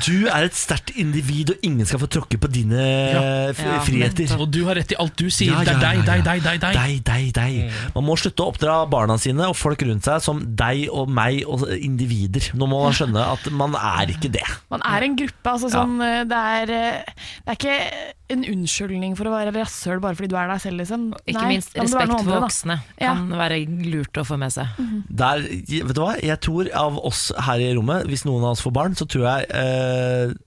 S1: Du er et sterkt individ, og ingen skal få tråkke på dine eh, f-
S2: Ja,
S1: friheter.
S3: Og du har rett i alt du sier.
S1: Ja,
S3: det er
S1: ja,
S3: deg,
S1: ja, ja.
S3: deg, deg, deg, deg. Mm.
S1: Deg, deg, deg. Man må slutte å oppdra barna sine og folk rundt seg som deg og meg og individer. Nå må man skjønne at man er ikke det.
S10: Man er en gruppe. Altså, sånn, eh, det, er, eh, det er ikke en unnskyldning for å være rasshøl bare fordi du er deg selv, liksom.
S2: Ikke
S10: Nei,
S2: minst
S10: da må du være
S2: respekt for
S10: noen andre, da.
S2: voksne kan være lurt å få med seg.
S1: Der, vet du hva? Jeg tror av oss her i rommet, hvis noen av oss får barn, så tror jeg eh,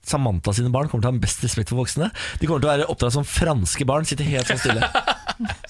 S1: Samantha sine barn kommer til å ha den best respekt for voksne. De kommer til å være oppdratt som franske barn, sitte helt sånn stille.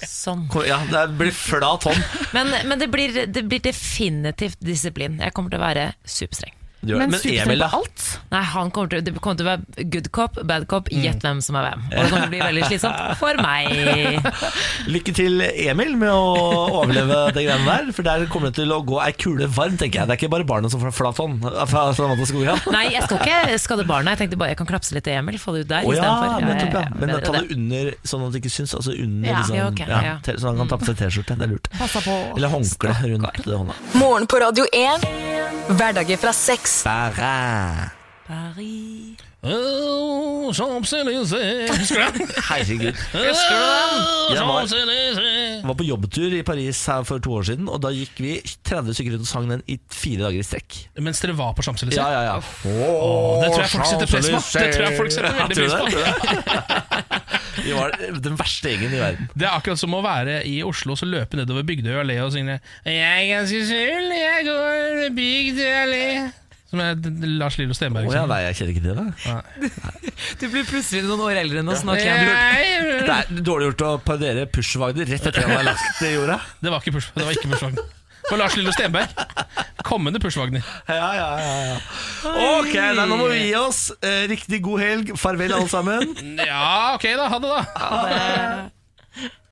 S2: Sånn.
S1: Kom- Ja, det blir flat hånd.
S2: Men, men det, blir, det blir definitivt disiplin. Jeg kommer til å være superstreng.
S1: Du gjør det. Men Emil, da?
S10: alt?
S2: Nei, han kommer til, Det kommer til å være good cop, bad cop, gjett hvem som er hvem. Og det kommer til å bli veldig slitsomt for meg.
S1: Lykke til, Emil, med å overleve det greiene der. For der kommer det til å gå ei kule varm, tenker jeg. Det er ikke bare barna som får flat hånd eh, fra Samantha Skogran.
S2: Nei, jeg skal ikke skade barna. Jeg tenkte bare jeg kan klapse litt til Emil, få det ut der
S1: Å ja,
S2: istedenfor.
S1: nettopp, ja. Men
S2: Bedre
S1: ta
S2: det.
S1: det under, sånn at det ikke syns. Altså under,
S10: Ja,
S1: liksom,
S2: ja, ok,
S1: ja,
S2: ja.
S1: te- sånn at han kan ta på seg T-skjorte. Det er lurt.
S10: Passa på.
S1: Eller håndkle rundt hånda.
S4: Morgen på Radio 1. Hverdager fra seks.
S1: Bare.
S2: Paris.
S3: Oh, Champs-Élysées. Husker du den?
S1: Herregud.
S3: Husker
S1: Jeg var-
S3: Champs-Élysées.
S1: Jeg var på jobbtur i Paris her for to år siden, og da gikk vi 30 stykker rundt og sang den i fire dager i strekk.
S3: Mens dere var på Champs-Élysées?
S1: Ja, ja, ja.
S3: Åh, det tror jeg folk setter pris på. Det tror jeg folk setter
S1: Ja,
S3: veldig
S1: tror
S3: pris
S1: du
S3: på.
S1: det? Vi var den verste gjengen i verden.
S3: Det er akkurat som å være i Oslo og så løpe nedover Bygdøy allé og synge Jeg er ganske full, jeg går Bygdøy allé. Som er d- d- Lars Lillo Stenberg.
S1: Å ja, nei, jeg kjenner ikke til det.
S2: Du blir plutselig noen år eldre enn oss nå, Ken.
S3: Nei,
S1: Det er dårlig gjort å parodiere Pushwagner rett etter at han har lagt det i jorda.
S3: det var ikke Push, det var ikke Pushwagner. Det var Lars Lillo Stenberg. Kommende Pushwagner.
S1: Ja, ja, ja, ja. Ok, nei, nå må vi gi oss. Eh, Riktig god helg. Farvel, alle sammen.
S3: Ja, ok, da. Ha det, da.